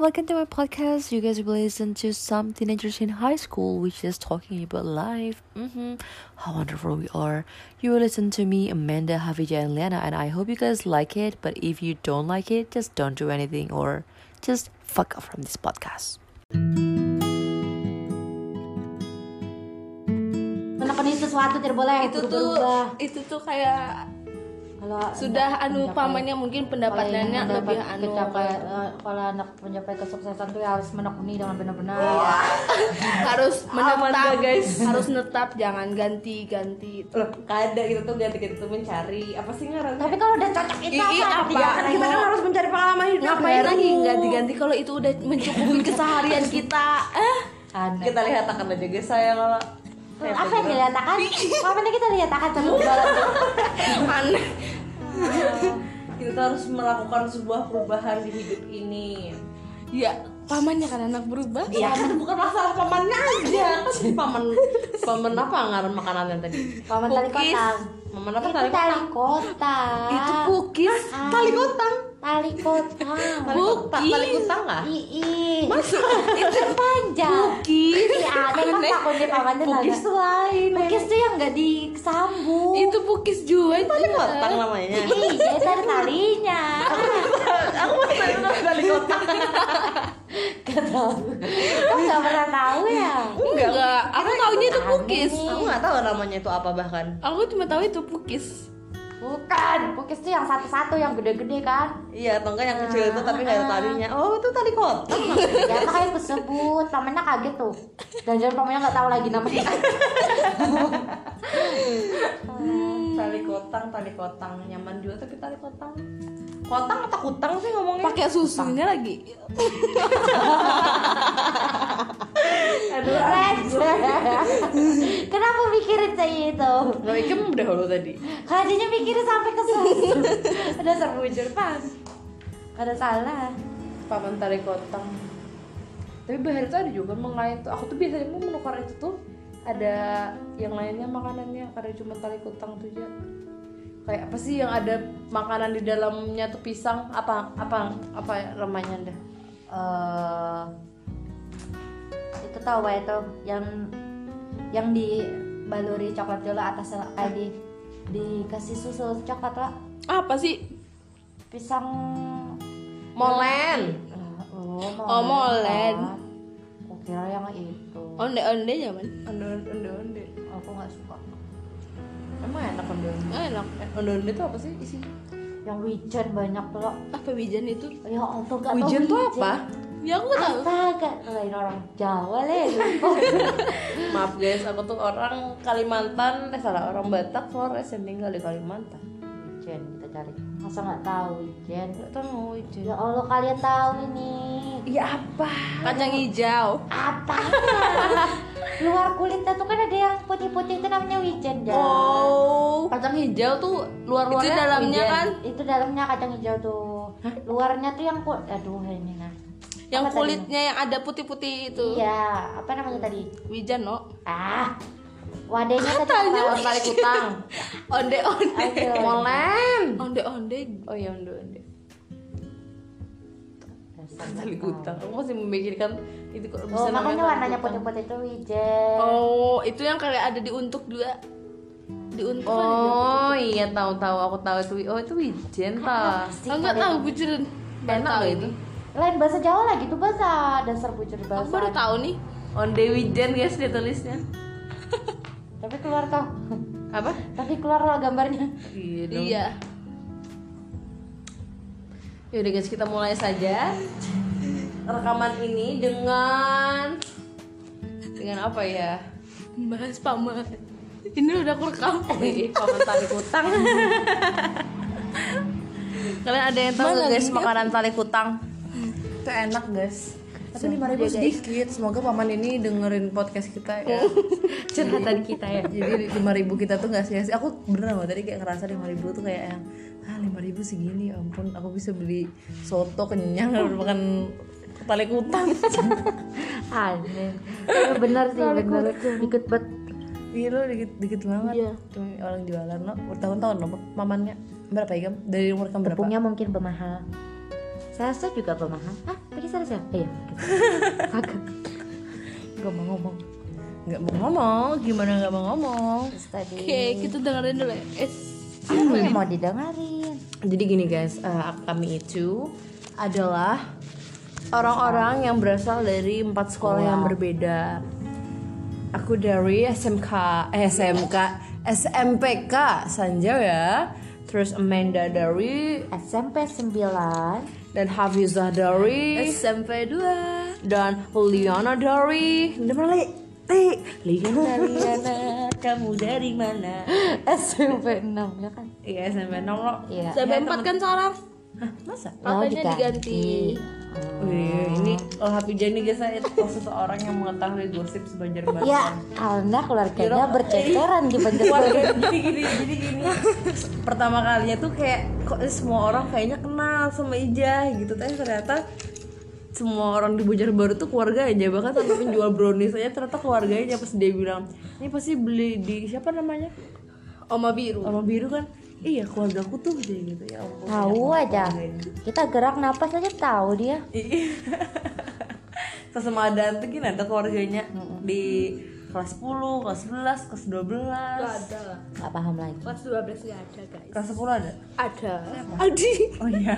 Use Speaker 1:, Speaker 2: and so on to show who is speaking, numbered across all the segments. Speaker 1: Welcome to my podcast. You guys will listen to some teenagers in high school, which is talking about life. hmm How wonderful we are. You will listen to me, Amanda, Havija, and Lena, and I hope you guys like it. But if you don't like it, just don't do anything or just fuck off from this podcast.
Speaker 2: menekenin sesuatu tidak boleh
Speaker 3: itu tuh
Speaker 2: berubah.
Speaker 3: itu tuh kayak
Speaker 2: kalau
Speaker 3: sudah
Speaker 2: anak
Speaker 3: anu
Speaker 2: mencapai-
Speaker 3: pamannya mungkin
Speaker 2: kalau ingin
Speaker 3: pendapatannya
Speaker 2: mendapat
Speaker 3: lebih anu
Speaker 2: mencapai,
Speaker 3: kayak
Speaker 2: eh, kalau anak mencapai kesuksesan tuh ya harus menekuni dengan benar-benar
Speaker 3: harus
Speaker 4: Aman
Speaker 3: menetap
Speaker 4: dah, guys.
Speaker 3: harus netap jangan ganti ganti
Speaker 4: loh kada gitu tuh ganti ganti tuh mencari apa sih ngarang
Speaker 2: tapi kalau udah cocok itu
Speaker 3: Ih,
Speaker 2: apa,
Speaker 3: apa?
Speaker 2: Iya, kan kita kan harus
Speaker 4: mencari pengalaman hidup
Speaker 3: ngapain
Speaker 4: baru.
Speaker 3: lagi ganti ganti kalau itu udah mencukupi keseharian kita eh
Speaker 2: Aneh.
Speaker 4: kita lihat akan ada guys saya kalau
Speaker 2: apa yang dilatakan pamannya kita lihat akan terus berubah.
Speaker 3: aneh
Speaker 4: kita tuh harus melakukan sebuah perubahan di hidup ini
Speaker 3: ya pamannya kan anak berubah
Speaker 4: Iya kan bukan masalah pamannya aja kan si paman paman apa ngaran makanannya tadi
Speaker 2: paman tali
Speaker 4: Cookies.
Speaker 2: kotang
Speaker 4: paman apa
Speaker 2: itu
Speaker 4: tadi
Speaker 2: tali kotang
Speaker 3: itu cookies
Speaker 2: Ah,
Speaker 4: tali kotang
Speaker 2: tali kotang
Speaker 4: tali kotang tali kotang nggak
Speaker 2: Ii, itu panjang.
Speaker 3: cookies
Speaker 2: Iya, ada kan takutnya pamannya
Speaker 4: Cookies
Speaker 2: nanya.
Speaker 4: tuh lain
Speaker 2: Bugis tuh yang nggak disambung.
Speaker 3: itu cookies juga
Speaker 4: tali kotang namanya
Speaker 2: Iya, itu ada talinya.
Speaker 4: aku masih tadi bilang tali kotang
Speaker 2: Kamu Kan nggak pernah tahu ya?
Speaker 3: enggak enggak aku taunya itu cookies
Speaker 4: aku nggak tahu namanya itu apa bahkan
Speaker 3: aku cuma tahu itu cookies
Speaker 2: Bukan, Bugis tuh yang satu-satu yang gede-gede kan? Ah.
Speaker 4: Iya, atau enggak yang kecil itu tapi nggak ada talinya. Oh, itu tali kotak.
Speaker 2: Ya makanya aku sebut, pamannya kaget tuh. Dan jangan pamannya nggak tahu lagi namanya.
Speaker 4: Tali kotang, tali kotang nyaman juga tapi tali kotang. Kotang atau kutang sih ngomongnya?
Speaker 3: pakai susunya lagi
Speaker 4: Aduh,
Speaker 2: Receh. Kenapa mikirin saya itu?
Speaker 4: Gak ikem udah hulu tadi.
Speaker 2: Hadinya mikirin sampai ke situ. Udah terbujur pan. Gak ada salah.
Speaker 4: Paman tali kotang. Tapi bahar itu ada juga emang lain tuh. Aku tuh biasanya mau menukar itu tuh ada yang lainnya makanannya karena cuma tali kotang tuh aja. Kayak apa sih yang ada makanan di dalamnya tuh pisang apa apa apa ya namanya dah?
Speaker 2: eh itu tau gak itu yang yang dibaluri coklat dulu atas kayak di dikasih susu coklat lah
Speaker 3: apa sih
Speaker 2: pisang
Speaker 4: Molen.
Speaker 2: oh,
Speaker 3: Oh, molen.
Speaker 2: aku kira yang itu
Speaker 3: onde onde ya, nyaman
Speaker 4: Onde onde onde.
Speaker 2: aku nggak suka
Speaker 4: Emang enak onde onde. Eh,
Speaker 3: enak
Speaker 4: Onde onde tuh apa sih isinya?
Speaker 2: yang wijen banyak tuh loh
Speaker 3: apa wijen itu
Speaker 2: ya allah nggak tau
Speaker 4: Wijen tuh apa?
Speaker 3: ya aku tahu
Speaker 2: astaga lain orang jawa Oh, leh
Speaker 4: Maaf guys, aku tuh orang Kalimantan, eh salah orang Batak, Flores yang tinggal di Kalimantan.
Speaker 2: wijen kita cari masa nggak tahu wijen
Speaker 4: Gak tahu itu.
Speaker 2: ya allah kalian tahu ini
Speaker 3: Iya,
Speaker 4: Ya apa?
Speaker 3: kacang hijau
Speaker 2: apa luar kulitnya tuh kan ada yang putih-putih itu namanya wijen ya
Speaker 3: oh
Speaker 4: Kacang hijau tuh
Speaker 3: itu
Speaker 4: luar-luarnya
Speaker 3: dalamnya
Speaker 4: wijen.
Speaker 3: kan
Speaker 2: itu dalamnya kacang hijau tuh luarnya tuh yang ku aduh ini nah
Speaker 3: yang
Speaker 2: Apa tadi?
Speaker 3: kulitnya yang ada putih-putih itu
Speaker 2: iya apa namanya tadi
Speaker 3: wijen no
Speaker 2: ah wadahnya tadi
Speaker 3: Katanya
Speaker 2: apa?
Speaker 3: wijen.
Speaker 2: balik utang
Speaker 3: onde onde
Speaker 2: Aduh.
Speaker 4: Molen.
Speaker 3: onde onde
Speaker 4: Oh iya onde onde. Tali kutang. Aku masih memikirkan itu kok
Speaker 2: Oh,
Speaker 4: bisa namanya gitu?
Speaker 2: makanya
Speaker 4: tali
Speaker 2: warnanya
Speaker 4: kutang.
Speaker 2: putih-putih itu wijen
Speaker 3: oh itu yang kayak ada diuntuk juga diuntuk
Speaker 4: Oh iya tahu-tahu aku tahu itu. Oh itu wijen ta.
Speaker 2: Sih,
Speaker 3: oh, nggak
Speaker 2: kalian-
Speaker 3: tahu bujuran
Speaker 4: Enak loh itu.
Speaker 2: lain bahasa Jawa lagi tuh bahasa dasar bujur
Speaker 3: aku
Speaker 2: bahasa
Speaker 3: baru tahu nih
Speaker 4: Onde wijen guys dia tulisnya.
Speaker 2: tapi keluar toh
Speaker 4: Apa?
Speaker 2: tapi keluar loh gambarnya
Speaker 4: Iya. dong.
Speaker 3: iya
Speaker 4: Yaudah guys, kita mulai saja rekaman ini dengan dengan apa ya?
Speaker 3: bahas paman ini udah aku rekam
Speaker 4: Wih, paman tali kutang. Kalian ada yang tahu
Speaker 3: Mana
Speaker 4: nggak, guys
Speaker 3: lihat?
Speaker 4: makanan tali kutang? Itu enak guys. Tapi lima ribu sedikit. Semoga paman ini dengerin podcast kita ya. Curhatan kita ya. Jadi lima ribu kita tuh nggak sia-sia. Aku beneran loh tadi kayak ngerasa lima ribu tuh kayak yang ah lima ribu segini, ya ampun aku bisa beli soto kenyang dan makan tali kutang.
Speaker 2: aneh Tapi bener sih bener ikut bet
Speaker 4: Iya lo dikit dikit banget. Cuma orang jualan lo bertahun-tahun lo mamannya berapa ya Gam? Dari umur kamu berapa?
Speaker 2: tepungnya mungkin pemahal salsa juga pemahal ah pakai Sarah Sarah eh, iya kagak gak mau ngomong
Speaker 1: nggak mau ngomong gimana nggak mau ngomong
Speaker 2: terus tadi
Speaker 4: Oke, kita dengerin dulu ya. Eh,
Speaker 2: gitu. apa yang mau didengarin
Speaker 1: jadi gini guys eh, kami itu adalah orang-orang yang berasal dari empat sekolah yang berbeda aku dari SMK eh, SMK SMPK Sanjaya ya. terus Amanda dari
Speaker 2: SMP 9
Speaker 1: dan Hafizah dari
Speaker 4: SMP 2
Speaker 1: dan Liana dari Demali Liana
Speaker 2: Liana kamu dari mana SMP 6 ya kan
Speaker 1: iya SMP 6 lo
Speaker 2: iya
Speaker 4: SMP 4 kan sekarang
Speaker 1: Hah, masa?
Speaker 4: Katanya
Speaker 1: Wih,
Speaker 4: diganti.
Speaker 1: Iya,
Speaker 4: Hmm.
Speaker 1: ini El Hafijah nih guys, itu seseorang yang mengetahui gosip
Speaker 4: Iya.
Speaker 1: sebanjar banget
Speaker 2: ya anda keluarganya berceceran di penjara
Speaker 1: Keluarga gini gini gini gini. Pertama kalinya tuh kayak kok semua orang kayaknya kenal sama Ija gitu, tapi ternyata semua orang di Bojar Baru tuh keluarga aja bahkan sampai penjual brownies aja ternyata keluarganya pas dia bilang ini pasti beli di siapa namanya
Speaker 4: Oma biru.
Speaker 1: Orang biru kan iya keluarga aku tuh dia gitu ya ampun
Speaker 2: tahu aja kita gerak napas aja tahu dia
Speaker 1: Iya. sesama ada tuh gini ada keluarganya
Speaker 4: Hmm.
Speaker 1: di kelas 10, kelas 11, kelas 12
Speaker 4: Ada lah.
Speaker 2: nggak paham lagi
Speaker 4: Kelas 12 nggak ada, guys.
Speaker 1: Kelas 10 ada?
Speaker 4: Ada. Adi.
Speaker 1: Oh iya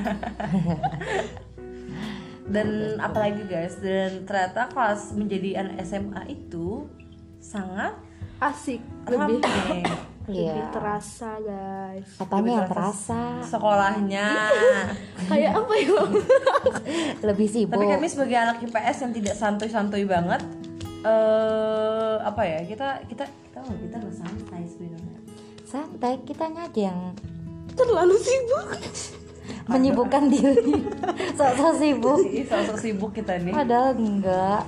Speaker 1: Dan apalagi guys, dan ternyata kelas menjadi anak SMA itu sangat
Speaker 4: Asik. Lebih
Speaker 1: ramai
Speaker 4: lebih
Speaker 2: iya
Speaker 4: terasa, guys.
Speaker 2: apanya yang terasa
Speaker 1: sekolahnya.
Speaker 4: Kayak apa ya?
Speaker 1: Tapi
Speaker 2: lebih sibuk
Speaker 1: kami sebagai anak IPS yang tidak santuy-santuy banget, eh apa ya kita kita kita kita nggak santai sebenarnya.
Speaker 2: santai kitanya aja yang
Speaker 4: Terlalu sibuk.
Speaker 2: menyibukkan diri sok-sok sibuk
Speaker 1: Ih, sok-sok sibuk kita nih.
Speaker 2: padahal enggak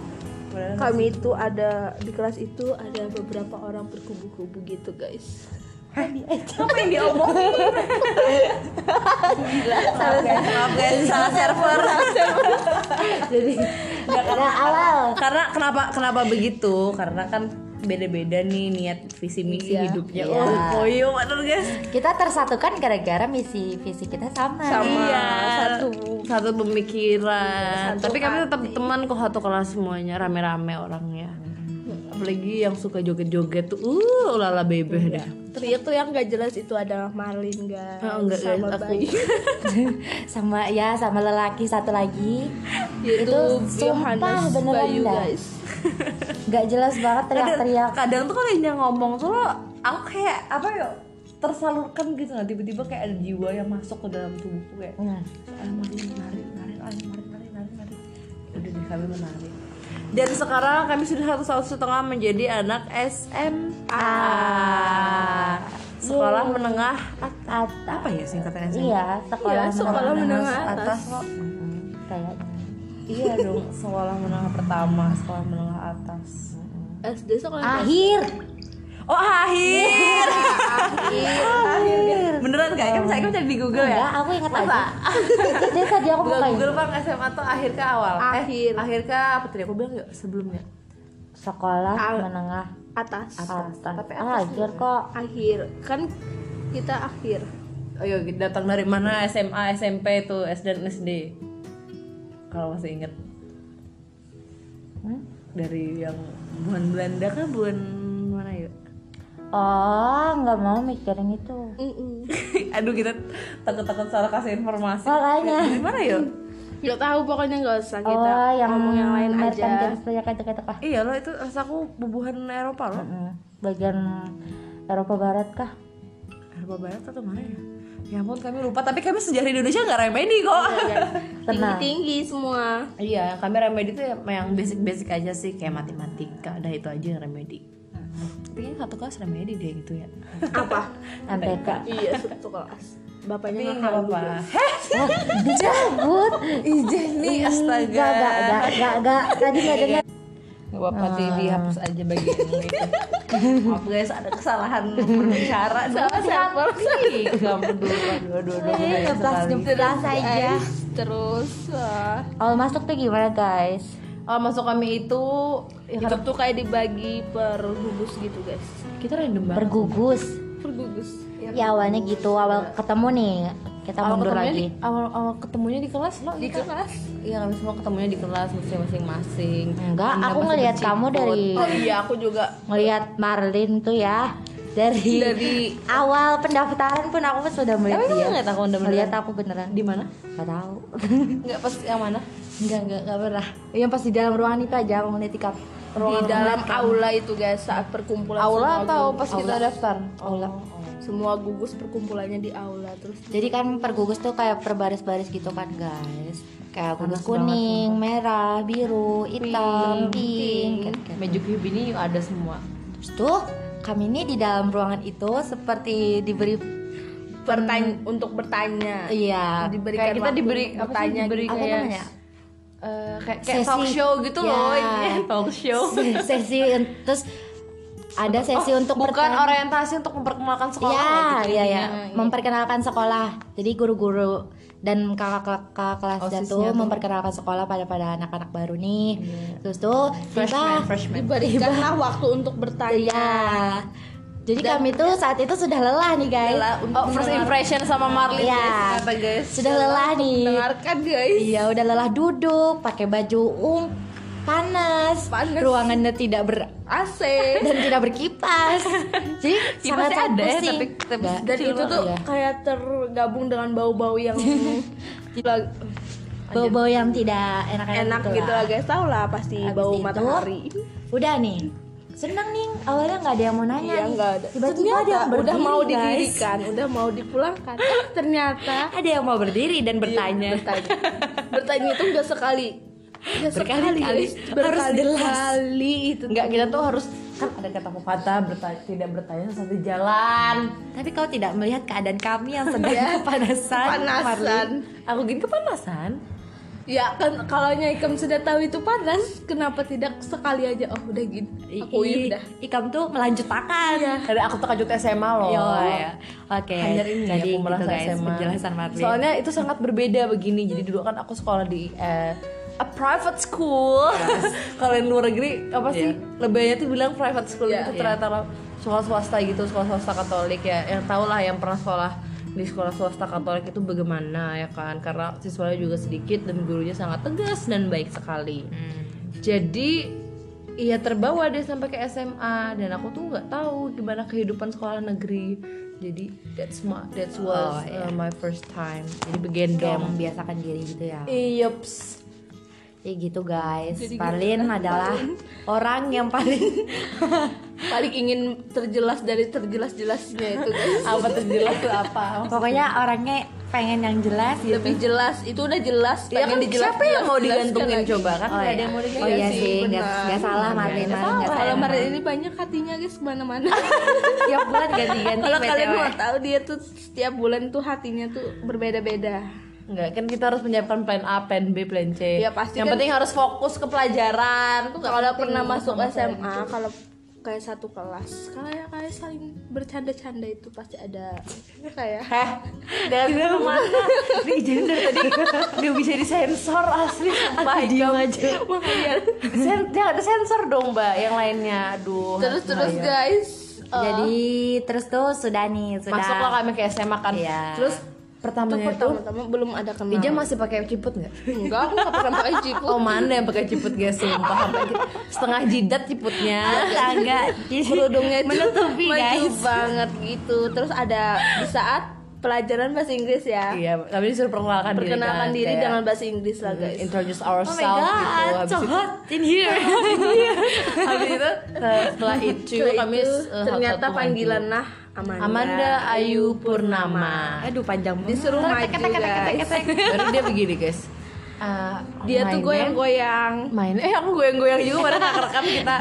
Speaker 1: Padahal-
Speaker 4: Kami itu ada di kelas itu ada beberapa orang berkubu-kubu gitu, guys.
Speaker 1: Apa yang diomongin? Salah maaf guys, salah server.
Speaker 2: jadi dari Nah, awal
Speaker 1: Karena kenapa kenapa begitu? Karena kan beda-beda nih niat visi misi
Speaker 4: Iya.
Speaker 1: hidupnya.
Speaker 2: Iya.
Speaker 1: Oh, koyo bener guys.
Speaker 2: kita tersatukan gara-gara misi visi kita sama,
Speaker 4: Sama.
Speaker 1: Iya,
Speaker 4: satu.
Speaker 1: satu pemikiran.
Speaker 4: Satu
Speaker 1: Tapi kami
Speaker 4: hati.
Speaker 1: tetap teman kok satu kelas semuanya, rame-rame orangnya. Apalagi yang suka joget-joget tuh, uh, lala bebeh dah.
Speaker 4: Teriak tuh yang gak jelas itu adalah Marlin, guys.
Speaker 1: Iya. Oh, enggak, guys,
Speaker 4: Sama
Speaker 1: aku-
Speaker 4: Bayu.
Speaker 2: sama ya sama lelaki satu lagi
Speaker 4: Yaitu
Speaker 2: Itu sumpah
Speaker 4: Yohanes
Speaker 2: beneran
Speaker 4: Bayu,
Speaker 2: dah.
Speaker 4: guys.
Speaker 2: nggak jelas banget teriak-teriak
Speaker 1: kadang tuh kalau Indah ngomong tuh lo aku kayak apa ya tersalurkan gitu nah tiba-tiba kayak ada jiwa yang masuk ke dalam tubuhku kayak
Speaker 2: Nah,
Speaker 1: ayo mari mari mari ayo mari mari mari mari udah deh kami menarik dan sekarang kami sudah satu tahun setengah menjadi anak SMA sekolah menengah At-
Speaker 2: at-
Speaker 1: apa ya singkatan SMA
Speaker 2: iya sekolah
Speaker 4: Iya, sekolah menengah atas.
Speaker 1: lo.
Speaker 2: Hmm, kayaknya
Speaker 1: iya dong sekolah menengah pertama sekolah menengah atas
Speaker 4: SD sekolah
Speaker 2: akhir
Speaker 1: Oh akhir. akhir. Iya. Beneran kak? Kamu saya cari di Google
Speaker 4: Oh,
Speaker 2: enggak
Speaker 1: ya?
Speaker 2: aku ingat aja jadi tadi aku
Speaker 1: Google,
Speaker 2: bukain
Speaker 1: Google bang SMA tuh akhir ke awal.
Speaker 4: Akhir.
Speaker 1: Eh, akhir ke apa tadi aku bilang nggak sebelumnya?
Speaker 2: sekolah
Speaker 4: Al-
Speaker 2: menengah
Speaker 4: atas.
Speaker 2: atas
Speaker 1: Tapi
Speaker 2: akhir kok
Speaker 4: Akhir. Kan kita akhir.
Speaker 1: Ayo Oh, iya, datang dari mana SMA, SMP tuh SD dan SD. Kalau masih inget
Speaker 2: Hmm?
Speaker 1: dari yang bulan Belanda kan bulan mana ya? yuk?
Speaker 2: oh nggak mau mikirin itu
Speaker 4: Mm-mm.
Speaker 1: Aduh kita takut-takut salah kasih informasi.
Speaker 2: Makanya.
Speaker 1: Dari mana ya? yuk?
Speaker 4: Gak tahu pokoknya gak usah kita
Speaker 2: oh yang
Speaker 4: ngomong yang lain
Speaker 2: American
Speaker 4: aja.
Speaker 2: Games banyak aja kata kah
Speaker 1: Iya loh itu rasaku bubuhan Eropa loh.
Speaker 2: Mm, bagian Eropa Barat kah
Speaker 1: Eropa Barat atau mana ya? Ya ampun kami lupa, tapi kami sejarah Indonesia nggak remedi kok.
Speaker 2: Tenang.
Speaker 4: Tinggi-tinggi semua.
Speaker 1: Iya, yang kami remedi itu yang basic-basic aja sih, kayak matematika, dah itu aja yang remedi.
Speaker 4: Hmm.
Speaker 1: Tapi kayaknya satu kelas remedi deh gitu ya.
Speaker 4: Apa?
Speaker 2: MPK
Speaker 4: iya, satu kelas.
Speaker 1: Tapi
Speaker 4: Bapaknya
Speaker 1: nggak
Speaker 4: nggak
Speaker 1: apa-apa.
Speaker 2: Wah, dicabut
Speaker 1: Ijeh nih, astaga.
Speaker 2: Enggak, enggak, enggak, enggak, enggak. Tadi enggak
Speaker 4: Iya,
Speaker 2: dengar.
Speaker 1: Gak apa-apa, nanti dihapus aja bagian ini. Maaf guys, ada kesalahan berbicara. Salah siapa? Kamu dulu, dua, dua, dua,
Speaker 4: iya.
Speaker 2: Eh, ngeblas, ngeblas aja.
Speaker 4: guys. Terus eh,
Speaker 2: Awal masuk tuh gimana, guys?
Speaker 1: Oh, masuk kami itu, ya,
Speaker 4: hidup tuh kayak dibagi per gugus gitu guys. Iya.
Speaker 1: kita random banget.
Speaker 2: Bergugus.
Speaker 3: pergugus
Speaker 2: ya awalnya gitu awal ketemu nih kita
Speaker 4: awal
Speaker 2: mundur
Speaker 4: ketemunya
Speaker 2: lagi
Speaker 4: di, awal awal ketemunya di kelas lo di kelas iya kami semua ketemunya di kelas maksudnya masing-masing
Speaker 2: Enggak,
Speaker 4: Anda
Speaker 2: aku
Speaker 4: pasti
Speaker 2: ngelihat kamu dari-
Speaker 4: oh iya aku juga
Speaker 2: ngelihat Marlin tuh ya dari
Speaker 4: dari
Speaker 2: awal pendaftaran pun aku sudah melihat
Speaker 4: Emang
Speaker 2: dia
Speaker 4: ngeliat aku beneran?
Speaker 2: melihat aku beneran
Speaker 4: di mana
Speaker 2: nggak tahu
Speaker 4: nggak pas yang mana
Speaker 2: nggak nggak nggak pernah yang pas di dalam ruangan itu aja aku ngeliat ikap
Speaker 5: di dalam aula itu guys saat perkumpulan
Speaker 3: aula
Speaker 5: semua
Speaker 3: atau
Speaker 5: gugus.
Speaker 3: pas kita daftar
Speaker 2: Allah
Speaker 5: semua gugus perkumpulannya di aula terus
Speaker 2: jadi kan pergugus tuh kayak perbaris-baris gitu kan guys kayak gugus kuning merah biru hitam pink kayak- kayak-
Speaker 4: Magic Cube ini ada semua
Speaker 2: Terus tuh kami ini di dalam ruangan itu seperti diberi
Speaker 5: bertanya untuk bertanya
Speaker 2: iya
Speaker 5: diberikan
Speaker 4: kayak kita
Speaker 5: waktu
Speaker 4: diberi apa
Speaker 5: untuk
Speaker 4: sih
Speaker 5: bertanya
Speaker 4: diberi
Speaker 2: gitu. apa
Speaker 4: kayak
Speaker 2: namanya?
Speaker 4: eh, kayak, kayak
Speaker 2: Sesi.
Speaker 4: talk show gitu loh
Speaker 2: Ya.
Speaker 4: ini talk show
Speaker 2: sesi un- terus ada sesi untuk
Speaker 4: Oh, bukan
Speaker 2: bertanya.
Speaker 4: orientasi untuk memperkenalkan sekolah
Speaker 2: ya,
Speaker 4: loh gitu
Speaker 2: ya, ya.
Speaker 4: jadinya.
Speaker 2: memperkenalkan sekolah. Jadi guru-guru dan kakak-kakak kelas
Speaker 4: Osisnya
Speaker 2: jatuh
Speaker 4: Oh, tuh. Iya.
Speaker 2: memperkenalkan sekolah pada pada anak-anak baru nih. Terus tuh
Speaker 4: freshman
Speaker 2: tiba
Speaker 4: freshman
Speaker 5: diberikanlah waktu untuk bertanya
Speaker 2: ya. Jadi kami tuh saat itu sudah lelah nih guys.
Speaker 4: oh first impression sama Marlin
Speaker 2: Iya.
Speaker 4: guys, ternyata guys
Speaker 2: Sudah lelah nih.
Speaker 5: Iya. dengarkan guys
Speaker 2: Iya, udah lelah duduk, pakai baju um panas.
Speaker 5: Panas.
Speaker 2: Ruangannya tidak ber
Speaker 5: AC
Speaker 2: dan tidak berkipas. Jadi
Speaker 4: Kipasnya
Speaker 2: sangat
Speaker 4: ada ya,
Speaker 2: pusing.
Speaker 4: tapi- tapi
Speaker 2: Nggak.
Speaker 5: dan itu tuh
Speaker 2: Iya.
Speaker 5: kayak tergabung dengan bau-bau yang gila-
Speaker 2: bau-bau yang tidak enak
Speaker 5: enak gitu lah guys tau lah pasti
Speaker 2: Habis
Speaker 5: bau
Speaker 2: itu,
Speaker 5: matahari
Speaker 2: Udah nih. Seneng nih, awalnya nggak ada yang mau nanya
Speaker 5: iya
Speaker 2: nih.
Speaker 5: nggak ada
Speaker 2: Tiba-tiba ada yang
Speaker 5: udah
Speaker 2: berdiri,
Speaker 5: mau
Speaker 2: guys.
Speaker 5: didirikan udah mau dipulangkan Eh, ternyata
Speaker 2: Ada yang mau berdiri dan bertanya.
Speaker 5: Iya, bertanya bertanya itu nggak sekali nggak sekali
Speaker 2: Berkali-kali.
Speaker 5: guys.
Speaker 2: Harus
Speaker 5: berkali-kali itu
Speaker 4: Enggak, kita tuh harus kan ada kata pepatah bertanya, tidak bertanya sesuatu di jalan.
Speaker 2: Tapi kau tidak melihat keadaan kami yang sedang
Speaker 5: Iya.
Speaker 2: kepanasan.
Speaker 5: panasan
Speaker 2: Marlin.
Speaker 4: Aku gini kepanasan.
Speaker 5: ya kan kalau Nyaikem sudah tahu itu panas kenapa tidak sekali aja oh udah gini
Speaker 2: I-
Speaker 5: aku
Speaker 2: i-
Speaker 5: udah Iya.
Speaker 2: Ikam tuh melanjut makan.
Speaker 4: Dari aku terkejut SMA loh.
Speaker 2: Yo, ya. Oke.
Speaker 4: Hanya ini
Speaker 2: Jadi
Speaker 4: aku
Speaker 2: gitu
Speaker 4: merasa
Speaker 2: guys,
Speaker 4: SMA.
Speaker 2: penjelasan Marlin.
Speaker 4: Soalnya itu sangat berbeda begini. Jadi dulu kan aku sekolah di eh, a private school. Kalau yang luar negeri apa sih? Lebaynya tuh bilang private school
Speaker 5: Iya,
Speaker 4: itu ternyata lah sekolah swasta gitu, sekolah swasta Katolik ya. Yang tau lah yang pernah sekolah di sekolah swasta Katolik itu bagaimana ya kan? Karena siswanya juga sedikit dan gurunya sangat tegas dan baik sekali.
Speaker 2: Hmm.
Speaker 4: Jadi Iya terbawa deh sampai ke SMA dan aku tuh nggak tahu gimana kehidupan sekolah negeri. Jadi that's my that's was uh, my first time. Jadi
Speaker 2: kayak
Speaker 4: begendong.
Speaker 2: membiasakan diri gitu ya.
Speaker 5: iyeps
Speaker 2: Ya gitu guys. Marlin adalah orang yang paling
Speaker 5: paling ingin terjelas dari terjelas-jelasnya itu guys
Speaker 4: apa terjelas tuh apa?
Speaker 2: pokoknya orangnya pengen yang jelas gitu.
Speaker 5: lebih jelas itu udah jelas
Speaker 4: Ya
Speaker 5: pengen
Speaker 4: kan
Speaker 5: dijelas-
Speaker 4: siapa yang mau
Speaker 5: jelas-
Speaker 4: digantungin
Speaker 5: jelaskan
Speaker 4: coba kan?
Speaker 2: Oh,
Speaker 4: nggak ada
Speaker 2: iya.
Speaker 4: yang mau digantungin.
Speaker 2: Oh iya
Speaker 5: sih,
Speaker 2: sih, nggak
Speaker 5: benar.
Speaker 2: nggak salah Marlin, Marlin nggak
Speaker 5: lagi. kalau
Speaker 2: salah.
Speaker 5: Maret ini banyak hatinya guys kemana-mana
Speaker 2: Tiap bulan ganti-ganti
Speaker 5: kalau
Speaker 4: ya.
Speaker 5: kalian
Speaker 2: BTW.
Speaker 5: mau tahu dia tuh setiap bulan tuh hatinya tuh berbeda-beda
Speaker 4: Nggak, kan kita harus menyiapkan plan A, plan B, plan C.
Speaker 1: Iya,
Speaker 5: Ya, pasti
Speaker 4: yang
Speaker 5: kan-
Speaker 4: penting harus fokus ke pelajaran. Tuh nggak
Speaker 5: kalau
Speaker 4: penting gitu.
Speaker 5: pernah masuk
Speaker 4: sama sekali.
Speaker 5: SMA kalau kayak satu kelas kayak kayak saling bercanda-canda itu pasti ada kayak
Speaker 4: Heh, dari mana? Izin dari tadi nggak bisa disensor asli sumpah Jam. iya. Sen ya, ada sensor dong mbak yang lainnya aduh
Speaker 5: terus terus guys eh,
Speaker 2: Jadi terus tuh sudah nih, sudah.
Speaker 4: masuklah Oh. kami ke SMA kan
Speaker 2: Iya.
Speaker 4: terus
Speaker 5: itu
Speaker 4: pertamanya itu
Speaker 5: pertama-tama belum ada kenal
Speaker 4: Ija masih pakai ciput nggak
Speaker 5: enggak aku nggak pernah pakai jiput
Speaker 4: oh mana yang pakai ciput guys sumpah sampai gitu. setengah jidat ciputnya
Speaker 2: Enggak, enggak. Jadi
Speaker 5: kerudungnya itu
Speaker 2: menutupi
Speaker 5: maju
Speaker 2: guys.
Speaker 5: banget gitu terus ada di saat pelajaran bahasa Inggris ya
Speaker 4: iya kami disuruh perkenalkan diri
Speaker 5: perkenalkan
Speaker 4: kan,
Speaker 5: diri
Speaker 4: kayak Hmm,
Speaker 5: dengan bahasa Inggris lah guys
Speaker 4: introduce
Speaker 2: Oh
Speaker 4: ourselves
Speaker 2: my god,
Speaker 4: gitu habis
Speaker 2: so
Speaker 4: itu
Speaker 2: hot in here.
Speaker 4: habis itu eh, setelah itu
Speaker 5: Setelah
Speaker 4: kami
Speaker 5: itu,
Speaker 4: eh,
Speaker 5: ternyata
Speaker 4: satu-satu
Speaker 5: panggilan
Speaker 4: maju.
Speaker 5: nah Amanda,
Speaker 4: Amanda Ayu Purnama
Speaker 2: Aduh panjang banget.
Speaker 5: disuruh maju guys
Speaker 4: baru dia begini guys Eh,
Speaker 5: dia
Speaker 4: my
Speaker 5: tuh
Speaker 4: name-
Speaker 5: goyang-goyang
Speaker 4: my name eh aku goyang-goyang juga pada nggak kerekam kita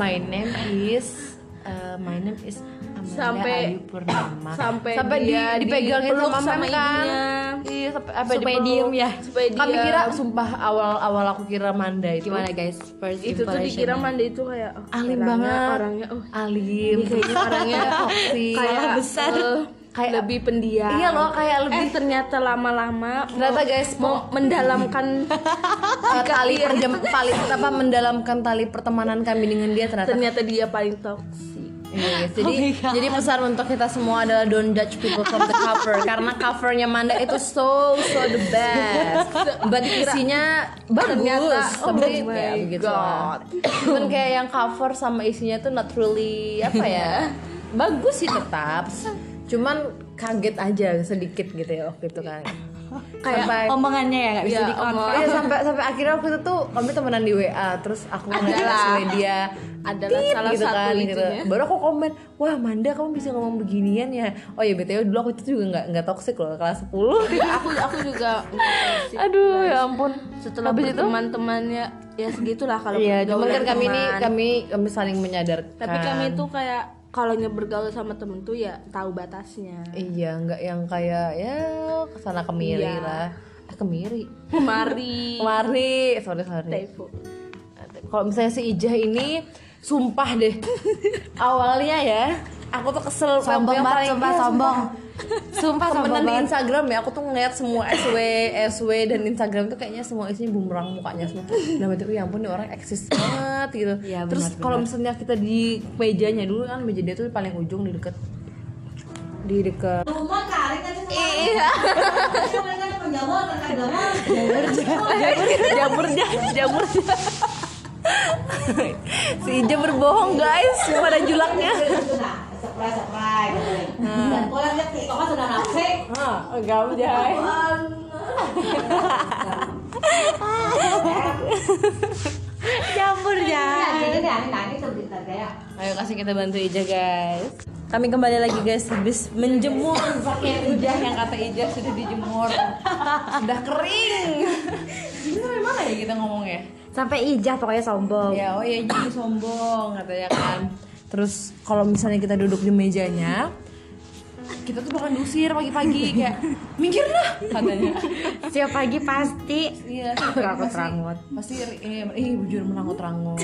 Speaker 4: my name is uh, my name is Amanda
Speaker 5: Sampai-
Speaker 4: Ayu Purnama
Speaker 5: sampai
Speaker 4: di-
Speaker 5: dia
Speaker 4: dipegangin
Speaker 5: dipeluk
Speaker 4: sama,
Speaker 5: sama
Speaker 4: mem kan
Speaker 5: ibunya.
Speaker 4: iya sampai apa
Speaker 2: Supaya
Speaker 4: dipeluk.
Speaker 2: diem ya.
Speaker 5: supaya dia
Speaker 4: kami kira sumpah awal awal aku kira Manda Nah, itu
Speaker 2: Gimana guys? First
Speaker 5: itu tuh
Speaker 2: impression.
Speaker 5: dikira Amanda itu kayak oh,
Speaker 4: alim
Speaker 5: orangnya-
Speaker 4: banget
Speaker 5: orangnya oh
Speaker 4: alim
Speaker 5: ini kayaknya orangnya
Speaker 4: toksik
Speaker 5: kayak
Speaker 2: besar.
Speaker 5: eh,
Speaker 4: Kayak-
Speaker 5: lebih pendiam
Speaker 4: Iya loh, kayak lebih-
Speaker 5: eh ternyata lama-lama
Speaker 4: Ternyata,
Speaker 5: mau-
Speaker 4: guys,
Speaker 5: mau mendalamkan
Speaker 4: Eh, tali perjem tali apa mendalamkan tali pertemanan kami dengan dia ternyata
Speaker 5: ternyata dia paling toksik
Speaker 1: Iya, jadi jadi pesan untuk kita semua adalah don't judge people from the cover karena covernya Manda itu so so the best. But isinya bagus,
Speaker 5: oh
Speaker 1: tapi
Speaker 5: my
Speaker 1: ya begitu. lah. Cuman kayak yang cover sama isinya tuh not really apa ya? bagus sih tetap. Cuman kaget aja sedikit gitu ya waktu itu kan.
Speaker 5: Iya. kayak
Speaker 1: Sampai-
Speaker 5: omongannya ya nggak bisa
Speaker 1: Iya,
Speaker 5: di
Speaker 1: omong- iya, sampai sampai akhirnya waktu itu tuh kami temenan di WA, terus aku ngeliat Swedia
Speaker 5: Adalah
Speaker 1: "Tit,"
Speaker 5: salah
Speaker 1: gitu
Speaker 5: satu
Speaker 1: kan, gitu.
Speaker 5: itunya.
Speaker 1: Baru aku komen, "Wah, Manda kamu bisa ngomong beginian ya." Oh ya, BTW dulu aku itu juga nggak nggak toksik loh kelas 10.
Speaker 5: aku aku juga
Speaker 1: Aduh, ya ampun.
Speaker 5: setelah Habis teman-temannya ya segitulah kalau
Speaker 1: Iya,
Speaker 5: bergaul
Speaker 1: cuman kan
Speaker 5: dengan
Speaker 1: kami ini
Speaker 5: teman.
Speaker 1: kami kami saling menyadarkan.
Speaker 5: tapi
Speaker 2: Kan.
Speaker 5: kami tuh kayak kalau bergaul sama temen tuh ya tahu batasnya
Speaker 1: Iya, nggak yang kayak ya kesana kemiri
Speaker 5: Iya.
Speaker 1: lah. Eh, kemiri.
Speaker 5: mari
Speaker 1: Kemari, sorry sorry.
Speaker 5: Taifu
Speaker 1: kalau misalnya si Ijah ini sumpah deh awalnya ya aku tuh kesel
Speaker 2: Sombong
Speaker 1: yang
Speaker 2: banget,
Speaker 1: paling-
Speaker 2: sumpah,
Speaker 1: iya,
Speaker 2: sombong.
Speaker 1: sumpah temenan di Instagram ya aku tuh ngeliat semua SW SW dan Instagram tuh kayaknya semua isinya bumerang mukanya semua dalam hati ya ampun nih orang eksis banget gitu
Speaker 2: Iya,
Speaker 1: terus kalau misalnya kita di mejanya dulu kan meja dia tuh paling ujung di deket di deket jamurnya jamurnya si Ija berbohong guys pada julaknya Ah, enggak Ijah. Ayo kasih kita bantu Ija guys. Kami kembali lagi guys habis menjemur pakai Ija yang kata Ija sudah dijemur. sudah kering. Bener mana ya kita ngomongnya?
Speaker 2: Sampai ijah pokoknya sombong.
Speaker 1: Ya, oh ya jadi sombong katanya kan. Terus kalau misalnya kita duduk di mejanya, kita tuh bakal diusir pagi-pagi kayak minggir lah katanya.
Speaker 2: Setiap pagi pasti
Speaker 1: Iya,
Speaker 2: Terangut-terangut.
Speaker 1: Pasti eh, ih bujur merangut-rangut.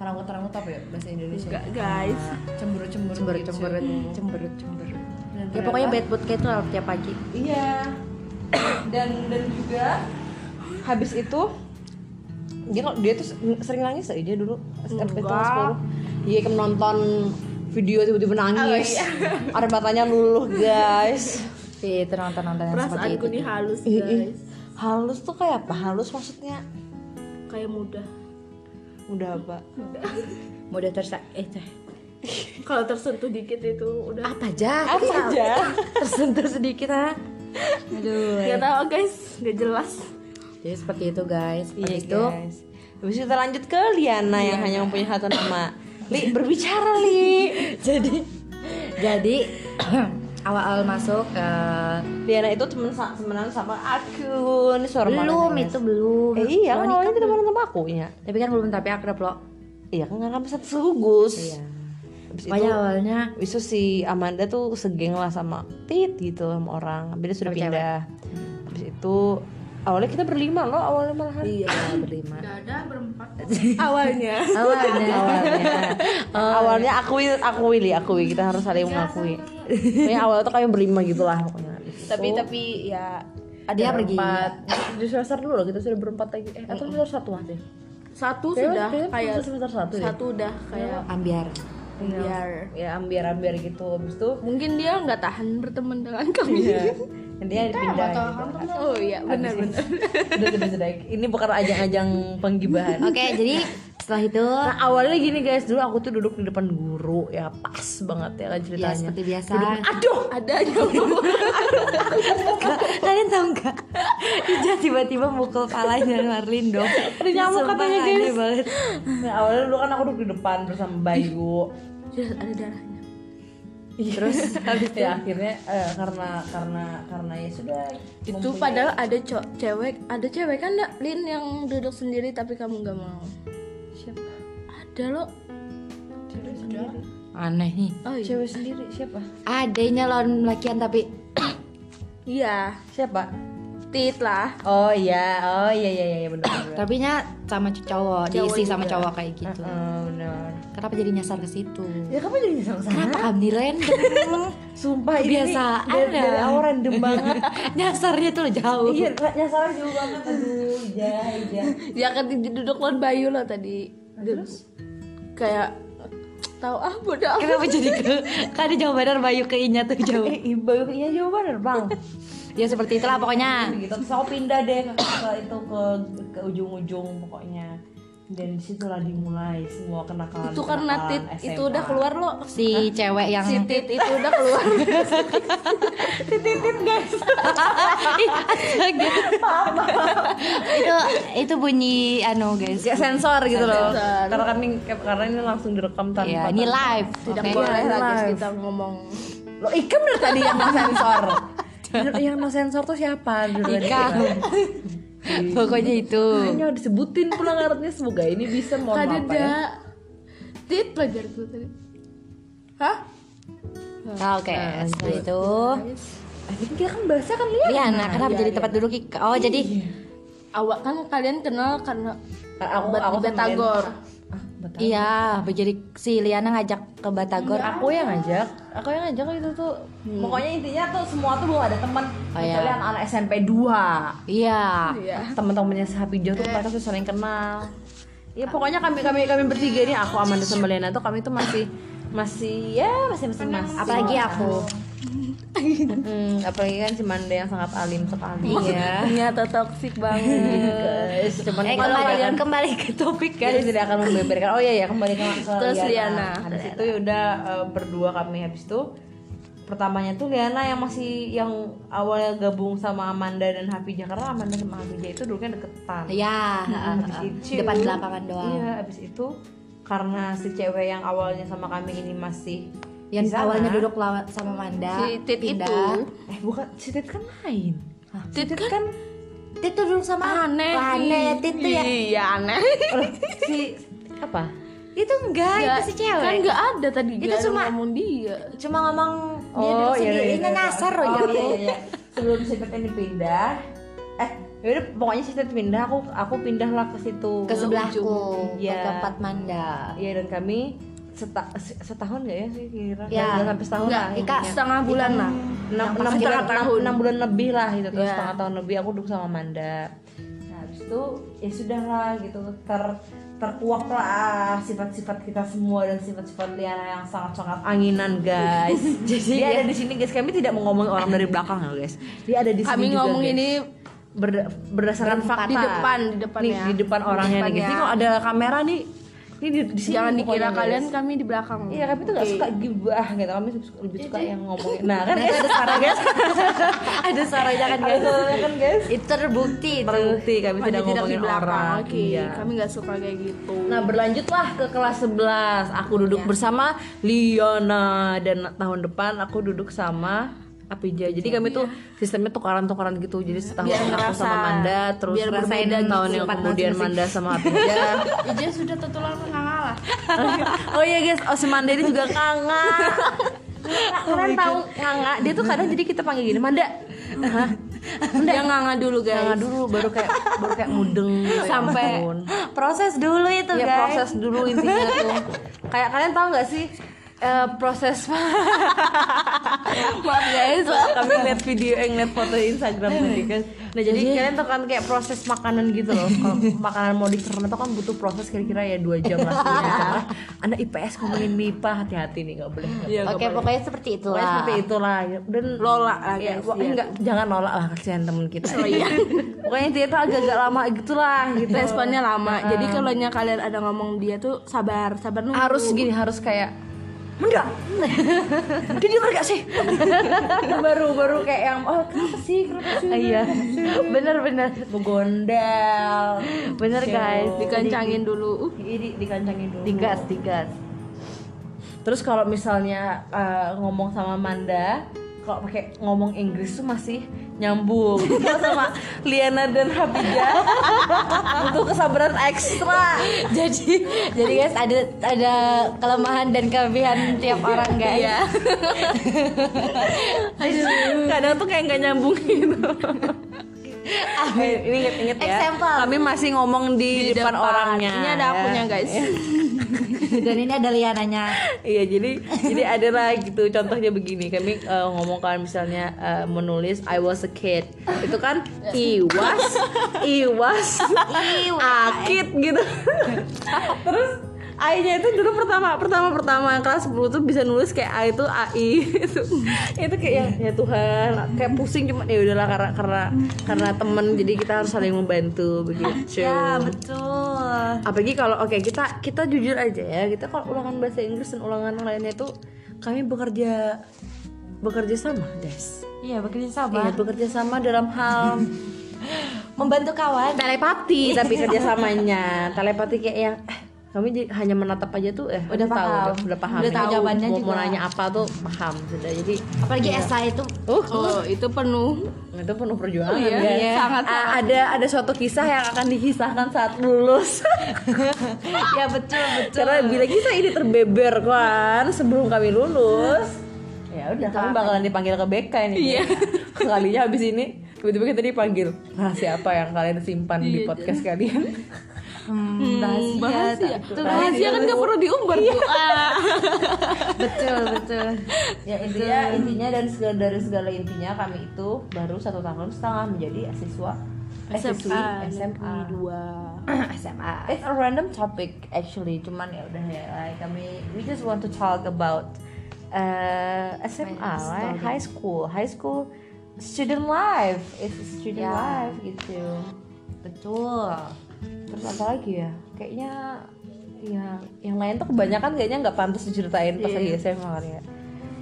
Speaker 1: Merangut-rangut apa ya bahasa Indonesia?
Speaker 5: Nggak, guys
Speaker 1: Cemburu-cemburu.
Speaker 2: cemberut-cemberut,
Speaker 1: gitu.
Speaker 2: cemberut-cemberut.
Speaker 1: Dan
Speaker 2: Ya pokoknya bad mood kayak itu lah tiap pagi.
Speaker 1: Iya. Dan dan juga habis itu dia kalau- dia tuh sering nangis aja dulu SMP kelas 10. Iya, kayak menonton video tiba-tiba nangis. Ada matanya Oh, iya. luluh, guys.
Speaker 2: Iya, itu nonton-nonton yang seperti
Speaker 5: perasaanku
Speaker 2: itu.
Speaker 5: nih halus
Speaker 1: Ih, ih.
Speaker 5: guys
Speaker 1: Halus tuh kayak apa? Halus maksudnya
Speaker 5: kayak mudah
Speaker 1: udah apa?
Speaker 2: Mudah tersa eh teh.
Speaker 5: kalau tersentuh dikit itu udah
Speaker 2: Apa aja?
Speaker 1: Apa aja?
Speaker 2: Tersentuh sedikit ha. Aduh.
Speaker 5: nggak tahu guys nggak jelas
Speaker 2: Jadi seperti itu guys. Habis
Speaker 1: Iya,
Speaker 2: itu
Speaker 1: guys. Habis itu kita lanjut ke Liana yang hanya mempunyai satu nama. Li, berbicara Li.
Speaker 2: jadi jadi awal-awal masuk eh,
Speaker 1: Liana itu temen sa- temenan sama aku. Ini suara mana
Speaker 2: belum
Speaker 1: nih, guys?
Speaker 2: itu belum.
Speaker 1: Eh, iya,
Speaker 2: Lo
Speaker 1: kan awalnya
Speaker 2: nikah
Speaker 1: itu
Speaker 2: belum.
Speaker 1: temenan sama aku ya.
Speaker 2: Tapi kan belum tapi akrab loh.
Speaker 1: Iya kan karena satu sugus.
Speaker 2: Iya.
Speaker 1: Habis
Speaker 2: Pokoknya
Speaker 1: itu,
Speaker 2: awalnya
Speaker 1: habis itu si Amanda tuh segeng lah sama Tit gitu sama orang. Habis dia sudah
Speaker 2: Sama cewek.
Speaker 1: pindah. Habis itu awalnya kita berlima loh awalnya malahan.
Speaker 2: iya berlima.
Speaker 5: ada berempat awalnya
Speaker 2: Awalnya awalnya.
Speaker 1: Nah,
Speaker 2: Oh,
Speaker 1: awalnya
Speaker 2: iya.
Speaker 1: aku aku Willy, aku kita harus saling mengakui. Pokoknya awalnya tuh kayak berlima gitu lah pokoknya. Habis itu-
Speaker 5: tapi tapi ya
Speaker 1: ada
Speaker 2: Dia pergi.
Speaker 1: berempat. Di semester dulu loh kita sudah berempat lagi. Eh atau semester satu masih?
Speaker 5: satu
Speaker 1: Kayaknya-
Speaker 5: sudah
Speaker 1: kayaknya
Speaker 5: kayak
Speaker 1: semester satu ya? deh.
Speaker 5: satu udah kayak
Speaker 2: Ambiar.
Speaker 5: biar
Speaker 1: Ya ambiar-ambiar gitu. Habis itu ya,
Speaker 5: mungkin dia nggak tahan berteman dengan kami
Speaker 1: Iya, intinya dipindah gitu.
Speaker 5: oh iya benar-benar
Speaker 1: Udah, udah, udah. Ini bukan ajang-ajang penggibahan.
Speaker 2: Oke, jadi setelah itu
Speaker 1: Nah awalnya gini guys, dulu aku tuh duduk di depan guru ya pas banget ya kan
Speaker 2: ya
Speaker 1: ceritanya.
Speaker 2: seperti biasa.
Speaker 1: Duduk- aduh,
Speaker 5: ada
Speaker 2: Kak, kalian tahu nggak? Ija tiba-tiba mukul palanya Marlin dong.
Speaker 1: ada nyamuk
Speaker 2: Sumpah,
Speaker 1: katanya
Speaker 2: aneh
Speaker 1: guys.
Speaker 2: banget.
Speaker 1: Nah, awalnya dulu kan aku duduk di depan bersama Bayu.
Speaker 5: sudah ada darahnya
Speaker 1: Terus habis ya akhirnya eh, karena karena karena ya sudah
Speaker 5: itu padahal ada co- cewek ada cewek kan Nak, Lin yang duduk sendiri tapi kamu nggak mau
Speaker 1: siapa?
Speaker 5: ada lo
Speaker 2: Aneh nih.
Speaker 5: oh iya
Speaker 1: Cewek sendiri siapa?
Speaker 2: Adanya lawan lelakian tapi
Speaker 5: iya
Speaker 1: Siapa?
Speaker 5: tit lah
Speaker 1: Oh iya, oh iya iya iya benar benar.
Speaker 2: tapi nya sama cowok, diisi sama cowok kayak gitu.
Speaker 1: Eh, benar.
Speaker 2: Kenapa jadi nyasar ke situ?
Speaker 1: Ya kamu jadi sama sama.
Speaker 2: Kenapa kami random?
Speaker 1: Sumpah ini
Speaker 2: Kebiasaan
Speaker 1: dari, dari
Speaker 2: ya.
Speaker 1: awal random banget.
Speaker 2: Nyasarnya tuh jauh.
Speaker 1: iya, nyasar juga banget. Aduh, iya iya.
Speaker 5: ya kan duduk lawan Bayu lo tadi terus kayak tahu ah bodoh amat.
Speaker 2: Kenapa jadi ke Kan ada jauh benar Bayu ke Inya tuh jauh
Speaker 4: Eh,
Speaker 6: Ibu, iya juga bener bang.
Speaker 2: Ya seperti itulah pokoknya
Speaker 6: gitu. Terus aku pindah deh ke, ke itu ke ke ujung-ujung pokoknya. Dan disitulah dimulai semua kenakalan.
Speaker 5: itu karena tit itu udah keluar lo
Speaker 2: Si cewek yang
Speaker 5: si tit itu udah keluar
Speaker 2: Ih, astaga. itu itu bunyi anu guys
Speaker 4: Kayak sensor gitu loh. Karena kan ini karena ini langsung direkam tanpa.
Speaker 2: ya ini live
Speaker 5: tidak
Speaker 2: oke?
Speaker 5: boleh lah guys
Speaker 4: Live.
Speaker 5: kita ngomong
Speaker 4: Lo Ika bener tadi yang no sensor. Bener, yang no sensor tuh siapa? Bener tadi
Speaker 2: Ika.
Speaker 4: Ika.
Speaker 2: pokoknya itu
Speaker 4: Hanya disebutin pula ngarepnya semoga ini bisa mohon maaf
Speaker 5: tadi ada
Speaker 4: ya.
Speaker 5: tit pelajar gue tadi hah
Speaker 2: Nah, oke setelah itu
Speaker 4: Ini kita kan bahasnya kan lihat.
Speaker 2: Liana kenapa jadi tempat duduk Ika oh jadi
Speaker 4: Iya,
Speaker 5: awak kan kalian kenal karena
Speaker 4: Karena aku
Speaker 5: obat
Speaker 4: aku
Speaker 5: di Batagor
Speaker 4: Ah, Batagor.
Speaker 2: iya jadi si Liana ngajak ke Batagor
Speaker 4: Aku yang ngajak, aku yang ngajak itu tuh. Pokoknya intinya tuh semua tuh belum ada teman.
Speaker 2: Oh, iya.
Speaker 4: Kecuali anak SMP 2
Speaker 2: iya
Speaker 4: Ya. teman-temannya sapi hijau tuh mereka tuh sering kenal ya pokoknya kami kami kami bertiga ini aku Amanda sama Lena tuh kami tuh masih masih ya masih masih masih
Speaker 2: apalagi aku
Speaker 4: Iya. Mm, apalagi kan si Manda yang sangat alim sekali
Speaker 2: iya
Speaker 4: ternyata toksik banget cuman
Speaker 2: eh
Speaker 4: kalau
Speaker 2: kembali
Speaker 4: kan-
Speaker 2: kembali ke topik
Speaker 4: jadi
Speaker 2: guys
Speaker 4: tidak akan membeberkan oh iya ya kembali ke ke
Speaker 5: Terus Liana.
Speaker 4: habis itu ya udah e, berdua kami habis itu pertamanya tuh Liana yang masih yang awalnya gabung sama Amanda dan Hafijah karena Amanda sama Hafijah itu dulu kan deketan
Speaker 2: ya
Speaker 4: Habis itu-
Speaker 2: depan belakangan doang
Speaker 4: Iya, abis itu karena si cewek yang awalnya sama kami ini masih
Speaker 2: yang
Speaker 4: di sana-
Speaker 2: awalnya duduk lawan sama Manda
Speaker 5: si tit
Speaker 2: pindah.
Speaker 5: itu
Speaker 4: Eh bukan, si Tit kan lain. Si
Speaker 5: Tit
Speaker 4: Tit
Speaker 5: kan-
Speaker 4: kan
Speaker 2: Tit tuh duduk sama
Speaker 5: aneh
Speaker 2: aneh Tit tuh ya
Speaker 5: iya aneh
Speaker 4: Loh, Oh, si apa?
Speaker 2: itu enggak itu si cewek
Speaker 5: kan nggak ada tadi
Speaker 2: Itu
Speaker 5: nggak ada
Speaker 2: cuma-
Speaker 5: ngomong dia
Speaker 2: cuma ngomong
Speaker 4: Iya,
Speaker 2: dia duduk sendiri ini nyasar loh
Speaker 4: Oh,
Speaker 2: gitu.
Speaker 4: iya, iya, iya. Sebelum si Tit ini pindah, eh yaudah pokoknya si Tit pindah aku aku pindahlah ke situ.
Speaker 2: ke sebelahku ke
Speaker 4: Iya.
Speaker 2: tempat Manda
Speaker 4: Iya dan kami seta- se- setahun gak ya sih kira
Speaker 2: Ya.
Speaker 4: Nggak sampai setahun
Speaker 5: Nggak,
Speaker 4: lah
Speaker 2: Ika
Speaker 4: intinya. Hmm.
Speaker 5: setengah bulan lah
Speaker 4: enam enam
Speaker 5: pasti
Speaker 4: bulan
Speaker 5: setengah
Speaker 4: enam,
Speaker 5: tahun.
Speaker 4: enam bulan lebih lah gitu terus
Speaker 5: Iya.
Speaker 4: setengah tahun lebih aku duduk sama Manda nah habis itu ya sudah lah gitu ter terkuak lah sifat-sifat kita semua dan sifat-sifat Liana yang sangat-sangat anginan guys jadi dia
Speaker 5: ya.
Speaker 4: ada di sini guys kami tidak mau ngomongin orang dari belakang loh guys dia ada di sini
Speaker 5: kami
Speaker 4: juga,
Speaker 5: ngomong
Speaker 4: guys.
Speaker 5: ini
Speaker 4: Berda- berdasarkan fakta
Speaker 5: di depan di depan
Speaker 4: nih
Speaker 5: ya
Speaker 4: di depan orangnya nih guys ini kok ada kamera nih ini di, di sini
Speaker 5: jangan
Speaker 4: pokoknya,
Speaker 5: dikira
Speaker 4: guys.
Speaker 5: kalian kami di belakang
Speaker 4: Iya, kami tuh gak suka gibah gitu. Kami suka- lebih suka yang ngomongin. Nah, kan guys, ada suara guys.
Speaker 2: ada suara jangan
Speaker 4: Ada
Speaker 2: guys
Speaker 4: suaranya kan guys.
Speaker 2: itu terbukti itu
Speaker 4: Terbukti kami
Speaker 5: Ada
Speaker 4: tidak
Speaker 5: tidak di
Speaker 4: ngomongin
Speaker 5: belakang
Speaker 4: orang.
Speaker 5: oke
Speaker 4: Iya.
Speaker 5: kami nggak suka kayak gitu
Speaker 4: Nah, berlanjutlah ke kelas 11. Aku duduk
Speaker 5: Iya.
Speaker 4: bersama Liana dan tahun depan aku duduk sama Apija. Jadi kami tuh sistemnya tukaran-tukaran gitu. Jadi setahun
Speaker 5: Iya. Biar
Speaker 4: aku
Speaker 5: ngerasa-
Speaker 4: sama Manda, terus
Speaker 5: biar
Speaker 4: rasain
Speaker 5: berbeda gitu
Speaker 4: tahun yang
Speaker 5: sifat
Speaker 4: kemudian Manda sama Apija.
Speaker 5: Ija sudah tertular nggak ngalah
Speaker 4: oh iya guys, oh si Manda ini juga kanga. Kalian tahu kanga? Dia tuh kadang jadi kita panggil gini, Manda. Hah?
Speaker 5: dia nganga dulu guys
Speaker 4: Kanga dulu baru kayak baru kayak mudeng gitu.
Speaker 2: sampai
Speaker 4: Ya ampun.
Speaker 2: proses dulu itu
Speaker 4: ya
Speaker 2: guys
Speaker 4: proses dulu intinya tuh. kayak kalian tahu nggak sih eh, proses maaf guys kami lihat video eh, ngeliat foto Instagram tadi guys nah jadi, kalian tahu kan kayak proses makanan gitu loh kalau makanan mau dicerna tuh kan butuh proses kira-kira ya dua jam lah Tiga jam lah. anda IPS ngomongin MIPA hati-hati nih nggak boleh nggak boleh.
Speaker 2: oke pokoknya seperti itulah
Speaker 4: Pokoknya
Speaker 5: Ah.
Speaker 4: seperti itulah ya. dan
Speaker 5: Iya, lola iya. lah
Speaker 4: Ya,
Speaker 5: guys
Speaker 4: pokoknya enggak, jangan nolak lah kasihan temen kita.
Speaker 5: Oh, iya.
Speaker 4: pokoknya dia tuh agak-agak lama gitulah gitu.
Speaker 5: responnya lama jadi kalau nya kalian ada ngomong dia tuh sabar sabar nunggu
Speaker 4: harus gini harus kayak Menda, dia denger gak sih? baru baru kayak yang oh kenapa sih kenapa sih? Iya, bener bener. Begondel, bener guys.
Speaker 5: dikancangin dulu uh,
Speaker 4: Jadi dikancangin dulu. Digas, digas. Terus kalau misalnya eh, ngomong sama Manda, kalau pakai ngomong Inggris tuh masih nyambung. Kalau sama Liana dan Habija butuh kesabaran ekstra.
Speaker 2: jadi jadi guys ada ada kelemahan dan kelebihan tiap orang guys
Speaker 4: Iya. Kadang tuh kayak nggak nyambung gitu. Eh, ini inget-inget ya.
Speaker 2: Example.
Speaker 4: Kami masih ngomong di, depan, orangnya.
Speaker 5: ini ada akunya guys
Speaker 2: dan ini ada Liananya
Speaker 4: Iya jadi jadi ada lah gitu contohnya begini kami eh, ngomong kalau misalnya eh, menulis I was a kid itu kan iwas iwas akid gitu terus AI-nya itu dulu pertama pertama pertama kelas 10 tuh bisa nulis kayak A itu AI gitu." itu itu kayak ya, ya Tuhan kayak pusing cuma ya udahlah karena karena karena temen jadi kita harus saling membantu begitu.
Speaker 2: ya betul
Speaker 4: Apalagi kalau oke kita kita jujur aja ya kita kalau ulangan bahasa Inggris dan ulangan lainnya itu kami bekerja bekerja sama des.
Speaker 2: iya bekerja sama
Speaker 4: Iya bekerja sama dalam hal
Speaker 2: membantu kawan
Speaker 4: telepati tapi kerjasamanya telepati kayak yang eh, kami j- hanya menatap aja tuh eh
Speaker 2: Udah
Speaker 4: tahu,
Speaker 2: paham.
Speaker 4: udah, udah paham
Speaker 2: Udah tahu
Speaker 4: Mau-
Speaker 2: jawabannya
Speaker 4: mau,
Speaker 2: juga.
Speaker 4: mau nanya apa tuh paham sudah jadi
Speaker 2: apalagi Esa itu
Speaker 4: uh
Speaker 5: Oh, itu penuh.
Speaker 4: itu penuh perjuangan
Speaker 5: Iya,
Speaker 4: guys.
Speaker 5: iya. Sangat,
Speaker 4: A- ada ada suatu kisah yang akan dikisahkan saat lulus Iya,
Speaker 2: ya betul betul
Speaker 4: karena bila kisah ini terbeber kan sebelum kami lulus ya udah kami bakalan dipanggil ke BK ini iya. kalinya habis ini tiba-tiba kita dipanggil rahasia apa yang kalian simpan di podcast kalian
Speaker 2: hmm, rahasia,
Speaker 5: Rahasia.
Speaker 2: tak-
Speaker 5: Tuh, rahasia kan gak perlu diumbar tuh. Ah.
Speaker 2: betul betul
Speaker 4: ya intinya intinya dan segala dari segala intinya kami itu baru satu tahun setengah menjadi siswa eh, siswi SMA
Speaker 2: SMA
Speaker 4: it's a random topic actually cuman ya udah ya like, kami we just want to talk about uh, SMA right? high school high school student life it's a student
Speaker 2: Yeah.
Speaker 4: life gitu
Speaker 2: betul
Speaker 4: terus apa lagi ya kayaknya ya yang lain tuh kebanyakan kayaknya nggak pantas diceritain pas lagi SMA kan ya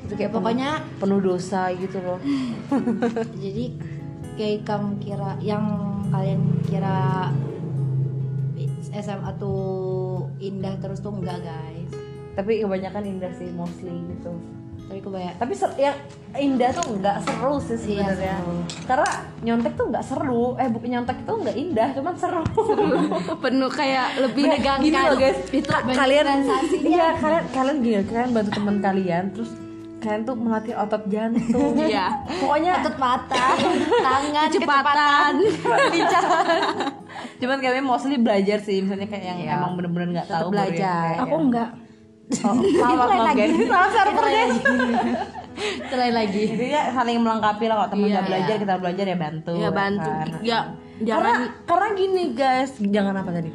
Speaker 4: itu kayak
Speaker 2: Ya, pokoknya-
Speaker 4: penuh, penuh dosa gitu loh
Speaker 2: jadi kayak kamu kira yang kalian kira SMA tuh indah terus tuh enggak guys
Speaker 4: tapi kebanyakan indah sih mostly gitu
Speaker 2: tapi kebanyakan ya,
Speaker 4: tapi ser- yang indah tuh nggak seru sih
Speaker 2: Iya,
Speaker 4: sebenarnya
Speaker 2: seru.
Speaker 4: karena nyontek tuh nggak seru eh bu nyontek tuh nggak indah cuman seru
Speaker 5: penuh kayak lebih
Speaker 4: Menegangkan. gini loh guys
Speaker 5: Itu
Speaker 4: Ka-
Speaker 5: banyak
Speaker 4: kalian
Speaker 2: sensasinya.
Speaker 4: iya kalian kalian gini kalian bantu teman kalian terus kalian tuh melatih otot jantung
Speaker 5: Iya.
Speaker 4: pokoknya
Speaker 2: otot mata tangan
Speaker 5: kecepatan.
Speaker 4: cuman kalian mostly belajar sih misalnya kayak yang emang bener-bener nggak tahu ya. baru yang
Speaker 2: belajar.
Speaker 4: kayak-
Speaker 3: Aku enggak.
Speaker 4: oh, maaf maaf guys maaf server
Speaker 2: ya,
Speaker 4: guys
Speaker 2: itu lain lagi
Speaker 4: intinya saling melengkapi lah kalau teman nggak belajar kita belajar ya bantu
Speaker 5: Ya bantu.
Speaker 4: kan?
Speaker 5: Ya
Speaker 4: karena
Speaker 5: jangan
Speaker 4: karena gini guys jangan apa tadi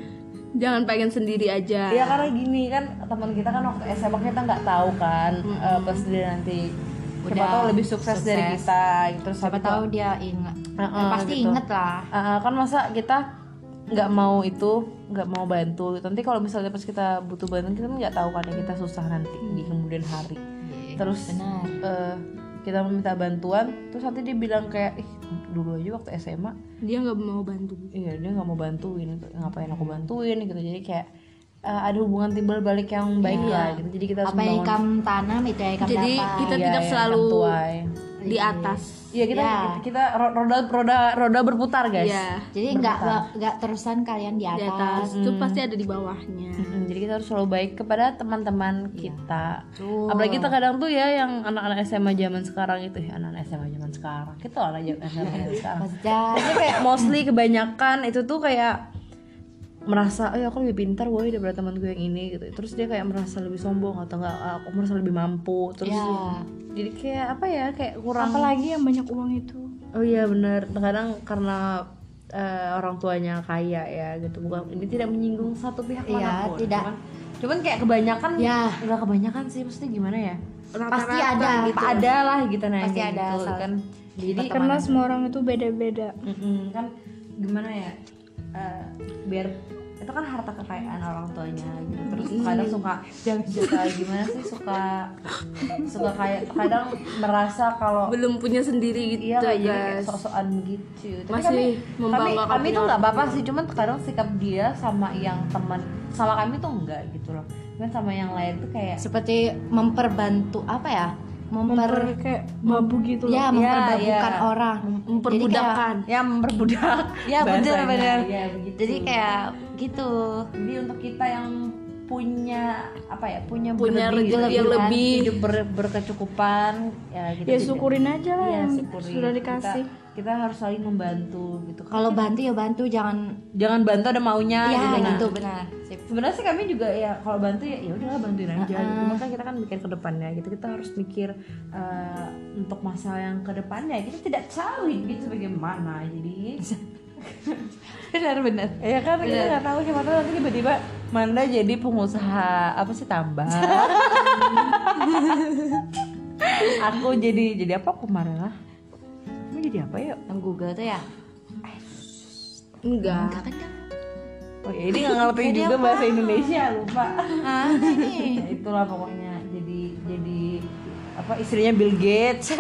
Speaker 5: jangan pengen sendiri aja.
Speaker 4: ya karena gini kan teman kita kan waktu SMA kita nggak tahu kan eh, pas dia nanti siapa
Speaker 2: Udah
Speaker 4: tahu lebih sukses, dari
Speaker 2: sukses.
Speaker 4: kita terus
Speaker 2: siapa
Speaker 4: habis itu,
Speaker 2: tahu dia ingat
Speaker 4: Heeh,
Speaker 2: Eh, pasti
Speaker 4: gitu.
Speaker 2: inget lah
Speaker 4: eh, kan masa kita nggak mau itu nggak mau bantu gitu. nanti kalau misalnya pas kita butuh bantuan kita kan nggak tahu kan ya kita susah nanti di kemudian hari terus
Speaker 2: benar.
Speaker 4: eh, kita meminta bantuan terus nanti dia bilang kayak ih dulu aja waktu SMA
Speaker 5: Dia nggak mau bantu.
Speaker 4: iya dia nggak mau bantuin ngapain aku bantuin gitu jadi kayak eh, ada hubungan timbal balik yang baik lah gitu. jadi kita harus
Speaker 2: apa yang
Speaker 4: membangun-
Speaker 2: kamu tanam itu yang kamu
Speaker 5: Jadi
Speaker 2: dapat
Speaker 5: kita
Speaker 4: Iya,
Speaker 5: tidak
Speaker 4: yang
Speaker 5: selalu
Speaker 4: tertuai.
Speaker 5: di atas.
Speaker 4: Iya kita
Speaker 2: Ya.
Speaker 4: kita ro- roda roda roda berputar guys.
Speaker 5: Iya.
Speaker 2: jadi nggak nggak terusan kalian di
Speaker 5: Di
Speaker 2: atas,
Speaker 5: atas itu pasti ada di bawahnya.
Speaker 4: Mm, jadi kita harus selalu baik kepada teman-teman kita.
Speaker 2: Betul.
Speaker 4: Apalagi terkadang tuh ya yang anak-anak SMA zaman sekarang itu ya anak-anak SMA zaman sekarang. Kita anak SMA zaman sekarang.
Speaker 2: Pasti.
Speaker 4: Tapi kayak mostly kebanyakan itu tuh kayak merasa, oh ya aku lebih pintar woi daripada teman gue yang ini gitu. Terus dia kayak merasa lebih sombong atau enggak aku merasa lebih mampu. Terus
Speaker 2: Ya.
Speaker 4: jadi kayak apa ya kayak kurang
Speaker 3: Apalagi yang banyak uang itu.
Speaker 4: Oh iya benar, kadang karena eh, orang tuanya kaya ya gitu. Bukan ini tidak menyinggung satu pihak
Speaker 2: Iya,
Speaker 4: manapun.
Speaker 2: tidak.
Speaker 4: Cuman, cuman kayak kebanyakan
Speaker 2: Ya.
Speaker 4: enggak kebanyakan sih, maksudnya gimana ya?
Speaker 2: pasti ada
Speaker 4: Ada lah gitu nah.
Speaker 2: Pasti
Speaker 4: kayak
Speaker 2: ada
Speaker 4: gitu,
Speaker 2: salah-
Speaker 4: kan. Jadi
Speaker 2: pertemanan.
Speaker 3: Karena semua orang itu beda-beda.
Speaker 4: mm-mm, kan gimana ya? eh, biar itu kan harta kekayaan orang tuanya gitu. Terus kadang suka suka gimana sih suka suka kayak kadang merasa kalau
Speaker 5: Belum punya sendiri gitu
Speaker 4: Iya kayak jadi kayak
Speaker 5: guys.
Speaker 4: sok-sokan gitu. Tapi
Speaker 5: Masih
Speaker 4: kami, kami,
Speaker 5: membanggakan
Speaker 4: kami tuh
Speaker 5: punya
Speaker 4: nggak apa-apa sih, cuman kadang sikap dia sama yang teman sama kami tuh enggak gitu loh. Cuman sama yang lain tuh kayak
Speaker 2: seperti memperbantu apa ya memper,
Speaker 3: Memper kayak babu gitu loh.
Speaker 2: ya
Speaker 5: iya,
Speaker 4: Ya,
Speaker 2: memperbabukan
Speaker 4: ya.
Speaker 2: orang
Speaker 5: Memperbudakan.
Speaker 4: ya memperbudak.
Speaker 2: ya benar
Speaker 4: bahasanya.
Speaker 2: benar
Speaker 4: Iya, begitu.
Speaker 2: jadi kayak gitu
Speaker 4: jadi untuk kita yang punya apa ya punya
Speaker 5: Punya rezeki yang
Speaker 4: kan,
Speaker 5: lebih.
Speaker 4: hidup ber- berkecukupan ya gitu
Speaker 3: Ya syukurin aja lah
Speaker 5: Iya,
Speaker 4: ya,
Speaker 3: yang
Speaker 4: syukurin.
Speaker 3: sudah
Speaker 4: Kita-
Speaker 3: dikasih.
Speaker 4: kita, harus saling membantu gitu
Speaker 2: kalau bantu ya bantu jangan
Speaker 4: jangan bantu ada maunya
Speaker 2: ya
Speaker 4: gitu, nah.
Speaker 2: gitu benar Sip.
Speaker 4: sebenarnya sih kami juga ya kalau bantu ya ya udahlah bantuin aja gitu makanya kita kan mikir ke depannya gitu kita harus mikir eh, untuk masalah yang ke depannya kita tidak tahu gitu bagaimana jadi
Speaker 1: benar-benar ya kan kita nggak tahu siapa tahu nanti tiba-tiba Manda jadi pengusaha apa sih tambah aku jadi jadi apa kemarin lah aku jadi apa ya
Speaker 2: yang Google tuh ya
Speaker 5: Enggak.
Speaker 1: oh ya ini nggak ngerti juga bahasa Indonesia lupa
Speaker 2: ah ini
Speaker 1: ya itulah pokoknya jadi jadi apa istrinya Bill Gates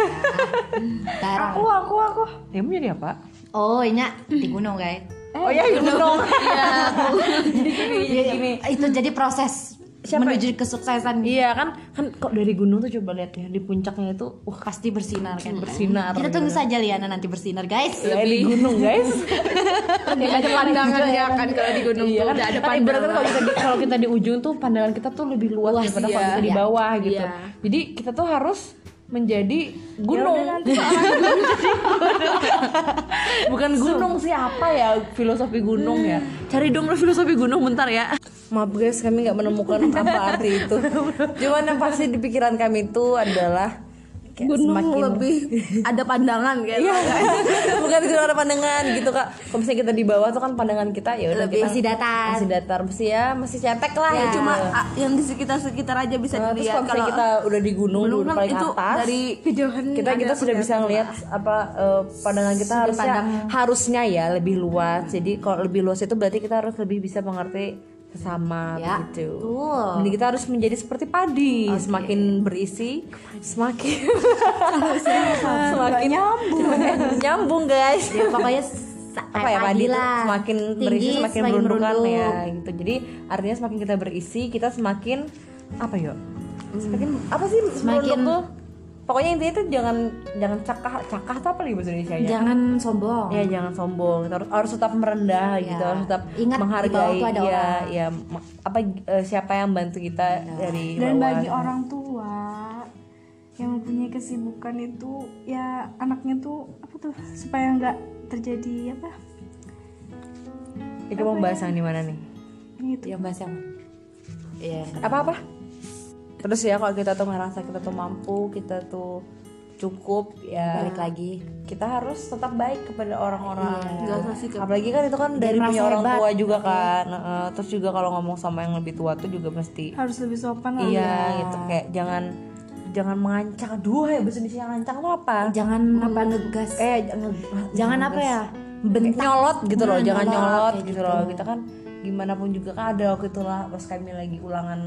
Speaker 2: Tarang.
Speaker 1: aku aku ya mau jadi apa
Speaker 2: oh ini di gunung guys
Speaker 1: oh ya you know Iya, jadi gini jadi gini
Speaker 2: itu jadi proses menuju kesuksesan
Speaker 1: Iya kan, kan kok dari gunung tuh coba lihat ya di puncaknya itu uh
Speaker 2: pasti bersinar kan
Speaker 1: bersinar.
Speaker 2: kita tunggu saja Liana nanti bersinar guys
Speaker 1: Ya, di gunung guys.
Speaker 4: Tidak ada pandangan ya kan kalau di gunung
Speaker 1: iya
Speaker 4: tuh
Speaker 1: kan.
Speaker 4: tidak ada
Speaker 1: kan ibaratnya
Speaker 4: pandangan.
Speaker 1: kalau kita di, kalau kita di ujung tuh pandangan kita tuh lebih luas, daripada kalau
Speaker 4: iya.
Speaker 1: kita di
Speaker 2: Iya.
Speaker 1: bawah gitu.
Speaker 5: Iya.
Speaker 1: Jadi kita tuh harus menjadi gunung.
Speaker 4: Ya
Speaker 1: Bukan gunung sih apa ya filosofi gunung ya. Cari dong filosofi gunung bentar ya.
Speaker 4: Maaf guys, kami nggak menemukan apa arti itu. Cuman yang pasti di pikiran kami itu adalah kayak
Speaker 5: Gunung
Speaker 4: semakin-
Speaker 5: lebih ada pandangan kayak
Speaker 4: Iya, bukan gunung ada pandangan gitu kak. Kalau misalnya kita di bawah tuh kan pandangan kita ya udah
Speaker 2: Lebih
Speaker 4: kita
Speaker 2: masih datar.
Speaker 5: kan.
Speaker 4: masih datar, masih ya masih cetek lah.
Speaker 2: Ya.
Speaker 4: Cuma
Speaker 5: cuma ah, yang di sekitar-sekitar aja bisa
Speaker 4: Nah, terus kalau
Speaker 5: dilihat
Speaker 4: misalnya
Speaker 5: kalau
Speaker 4: kita udah di gunung,
Speaker 5: gunung
Speaker 4: udah
Speaker 5: kan
Speaker 4: paling
Speaker 5: itu
Speaker 4: atas
Speaker 5: dari kejauhan
Speaker 4: kita kita
Speaker 5: ada
Speaker 4: sudah bisa
Speaker 5: kelihatan.
Speaker 4: ngelihat apa eh, pandangan kita harusnya
Speaker 2: pandang.
Speaker 4: harusnya ya lebih luas. Jadi kalau lebih luas itu berarti kita harus lebih bisa mengerti sesama
Speaker 2: Ya,
Speaker 4: begitu.
Speaker 2: betul.
Speaker 4: Jadi kita harus menjadi seperti padi, semakin berisi, semakin semakin nyambung, nyambung guys.
Speaker 2: ya pokoknya sa-
Speaker 4: apa ya padi tuh
Speaker 2: lah.
Speaker 4: semakin
Speaker 2: Tinggi,
Speaker 4: berisi semakin, berundukan
Speaker 2: merunduk.
Speaker 4: ya gitu jadi artinya semakin kita berisi kita semakin apa ya semakin apa sih
Speaker 2: Hmm. Semakin-
Speaker 4: semakin tuh pokoknya intinya tuh jangan jangan cakah cakah tuh apa nih bahasa Indonesia ya
Speaker 2: jangan sombong
Speaker 4: ya jangan sombong Kita harus harus tetap merendah gitu harus tetap
Speaker 2: Iya. Ingat, di bawah
Speaker 4: menghargai
Speaker 2: tuh ada
Speaker 4: ya
Speaker 2: orang. Iya.
Speaker 4: ya ma- apa eh, siapa yang bantu kita dari
Speaker 5: dan
Speaker 4: bawah.
Speaker 5: bagi orang tua yang mempunyai kesibukan itu ya anaknya tuh apa tuh supaya nggak terjadi apa
Speaker 4: itu pembahasan di mana nih
Speaker 5: ini itu
Speaker 2: yang bahas yang Iya.
Speaker 4: apa apa terus ya kalau kita tuh ngerasa kita tuh mampu kita tuh cukup ya
Speaker 2: balik lagi Iya,
Speaker 4: kita harus tetap baik kepada orang-orang
Speaker 5: Nggak usah sih ke-
Speaker 4: apalagi kan itu kan dari
Speaker 2: merasa
Speaker 4: punya orang
Speaker 2: hebat. Iya.
Speaker 4: tua juga kan Heeh, terus juga kalau ngomong sama yang lebih tua tuh juga mesti
Speaker 5: harus lebih sopan lah
Speaker 4: iya gitu kayak jangan jangan mengancang dua ya bahasa Indonesia ngancang tuh apa Eh,
Speaker 2: jangan
Speaker 4: Hmm.
Speaker 2: apa ngegas
Speaker 4: kayak nge-
Speaker 2: jangan apa ya
Speaker 4: bentak nyolot gitu loh
Speaker 2: Nah,
Speaker 4: jangan
Speaker 2: nyolot,
Speaker 4: nyolot
Speaker 2: kayak
Speaker 4: gitu
Speaker 2: gitu.
Speaker 4: loh kita kan gimana pun juga kan ada waktu itulah pas kami lagi ulangan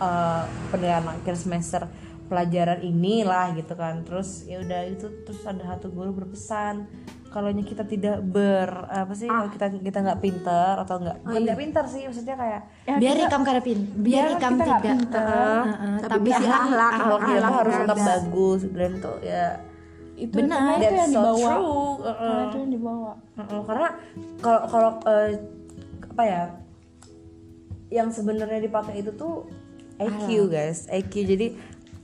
Speaker 4: eh penilaian akhir semester pelajaran inilah gitu kan terus ya udah itu terus ada satu guru berpesan kalau kita tidak ber apa sih
Speaker 2: Ah.
Speaker 4: kalau kita kita nggak pinter atau nggak
Speaker 2: Oh iya.
Speaker 4: bukan nggak pinter sih maksudnya kayak
Speaker 2: biar ikam karepin biar ikam
Speaker 4: Ya, kita nggak
Speaker 2: tiga
Speaker 4: pinter.
Speaker 2: Heeh, tapi
Speaker 5: bisa
Speaker 2: akhlak
Speaker 5: akhlak,
Speaker 4: kalau "Ah, kita
Speaker 5: akhlak
Speaker 4: harus tetap
Speaker 5: ada.
Speaker 4: bagus dan tuh ya
Speaker 5: itu
Speaker 2: benar.
Speaker 5: itu
Speaker 4: that's
Speaker 5: yang
Speaker 4: so
Speaker 5: dibawa
Speaker 4: true Heeh.
Speaker 5: Karena itu yang dibawa
Speaker 4: Mm-mm, karena kalau kalau eh, apa ya yang sebenarnya dipakai itu tuh EQ guys EQ jadi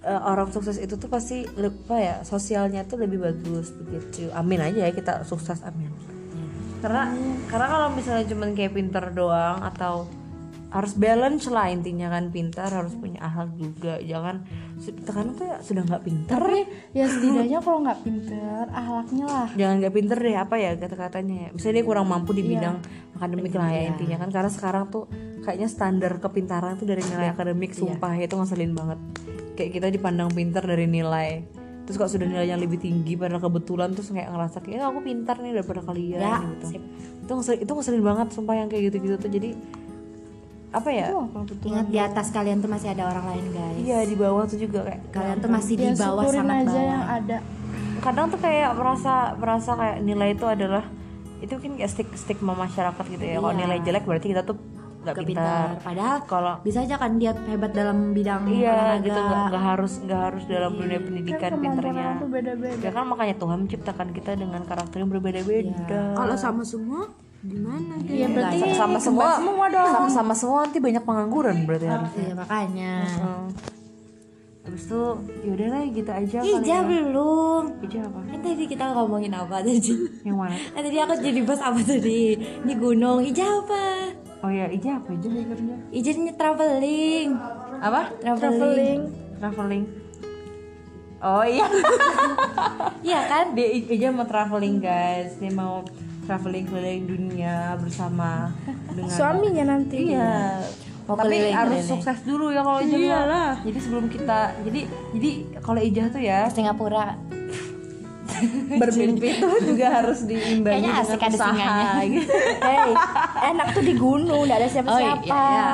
Speaker 4: eh, orang sukses itu tuh pasti le- apa ya sosialnya tuh lebih bagus begitu amin aja ya kita sukses amin
Speaker 5: Iya.
Speaker 4: karena karena kalau misalnya cuman kayak pinter doang atau harus balance lah intinya kan pintar harus punya akhlak juga jangan karena tuh ya sudah nggak pinter
Speaker 5: tapi ya setidaknya kalau nggak pinter akhlaknya lah
Speaker 4: jangan gak pinter deh apa ya kata-katanya ya misalnya dia kurang mampu di
Speaker 2: Iya.
Speaker 4: bidang akademik lah ya intinya kan karena sekarang tuh kayaknya standar kepintaran tuh dari nilai
Speaker 2: Iya.
Speaker 4: akademik sumpah ya, itu ngeselin banget kayak kita dipandang pinter dari nilai terus kalau sudah nilai yang lebih tinggi padahal kebetulan terus kayak ngerasa kayak "Ah, aku pintar nih daripada kalian
Speaker 2: Ya,
Speaker 4: gitu
Speaker 2: sip.
Speaker 4: itu ngeselin, itu ngeselin banget sumpah yang kayak gitu-gitu tuh jadi apa ya
Speaker 2: ingat di atas kalian tuh masih ada orang lain guys
Speaker 4: iya di bawah tuh juga kayak
Speaker 2: kalian tuh masih di
Speaker 5: ya
Speaker 2: bawah
Speaker 5: syukurin
Speaker 2: sangat
Speaker 5: aja
Speaker 2: bawah
Speaker 5: yang ada
Speaker 4: kadang tuh kayak merasa merasa kayak nilai itu adalah itu mungkin kayak stig- stigma masyarakat gitu ya kalau
Speaker 2: Iya.
Speaker 4: nilai jelek berarti kita tuh nggak
Speaker 2: Gak
Speaker 4: pintar
Speaker 2: pintar padahal
Speaker 4: kalau
Speaker 2: bisa aja kan dia hebat dalam bidang
Speaker 4: iya
Speaker 2: olahraga
Speaker 4: gitu nggak Iya. Kan nggak harus nggak harus dalam dunia pendidikan pinternya
Speaker 5: itu beda-beda
Speaker 4: ya kan makanya Tuhan menciptakan kita dengan karakter yang berbeda-beda
Speaker 5: kalau sama semua gimana
Speaker 2: Iya,
Speaker 5: gitu ya
Speaker 4: Berarti sama semua sama sama semua nanti banyak pengangguran berarti harusnya.
Speaker 2: Iya makanya
Speaker 4: Hmm. Habis itu yaudah lah gitu aja
Speaker 2: Ih,
Speaker 4: kali
Speaker 2: Jah,
Speaker 4: ya.
Speaker 2: belum
Speaker 4: Ijah apa?
Speaker 2: Kan tadi kita ngomongin apa tadi
Speaker 4: Yang mana?
Speaker 2: Kan tadi aku jadi bos apa tadi Ini gunung Ija apa?
Speaker 4: Oh ya, Ijah apa? Ijah kerja.
Speaker 2: Ijanya traveling
Speaker 4: Apa?
Speaker 2: Traveling
Speaker 4: traveling oh iya
Speaker 2: Iya kan?
Speaker 1: Iya,
Speaker 2: Iya
Speaker 4: dia I- Ija mau traveling guys dia mau
Speaker 1: traveling keliling dunia bersama dengan
Speaker 4: Suaminya nanti.
Speaker 1: Iya.
Speaker 7: Mau
Speaker 1: Tapi
Speaker 7: keliling,
Speaker 1: harus
Speaker 7: keliling.
Speaker 1: sukses dulu ya kalau ijazah.
Speaker 4: Iyalah.
Speaker 1: Jadi sebelum kita jadi jadi kalau ijazah tuh ya
Speaker 2: Singapura
Speaker 1: bermimpi tuh juga harus diimbangi
Speaker 2: Kayaknya asik
Speaker 1: dengan
Speaker 2: ada
Speaker 1: usaha
Speaker 2: singanya.
Speaker 1: gitu.
Speaker 4: Hei, enak tuh di gunung, nggak ada siapa-siapa.
Speaker 7: Oh, iya,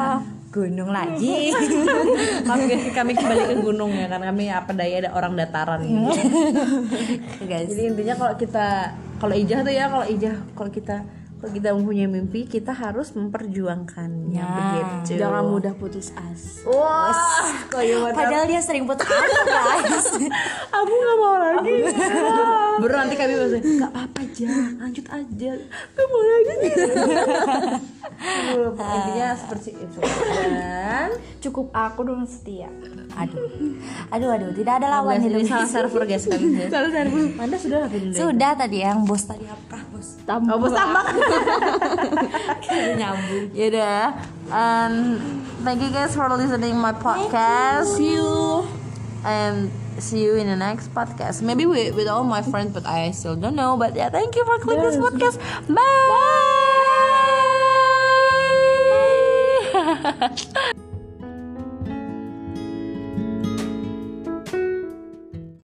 Speaker 1: Gunung lagi. kami, kami kembali ke gunung ya kan kami apa daya ada orang
Speaker 4: Hmm.
Speaker 1: dataran gitu. Jadi intinya kalau kita kalau ijah tuh ya kalau ijah kalau kita kalau kita mempunyai mimpi kita harus memperjuankannya begitu.
Speaker 4: Jangan mudah putus asa.
Speaker 1: Wah, kayu mata.
Speaker 2: Padahal dia sering putus asa guys
Speaker 1: Aku nggak mau lagi. Baru nanti kami bilang nggak apa-apa aja, lanjut aja. Aku mau lagi. Aduh, Intinya seperti itu. kan? Dan
Speaker 8: Cukup aku dong setia.
Speaker 2: Aduh Aduh aduh tidak ada lawan
Speaker 1: guys,
Speaker 2: hidup
Speaker 1: ini salah server guys kami. Salah server. Anda sudah lah
Speaker 2: Sudah tadi yang bos tadi apa bos
Speaker 1: Oh, bos tambah.
Speaker 2: Nyambung
Speaker 1: Yaudah. Um, thank you guys for listening my podcast. See you. And see you in the next podcast. Maybe with, with all my friends, but I still don't know. But yeah, thank you for clicking this podcast. Bye.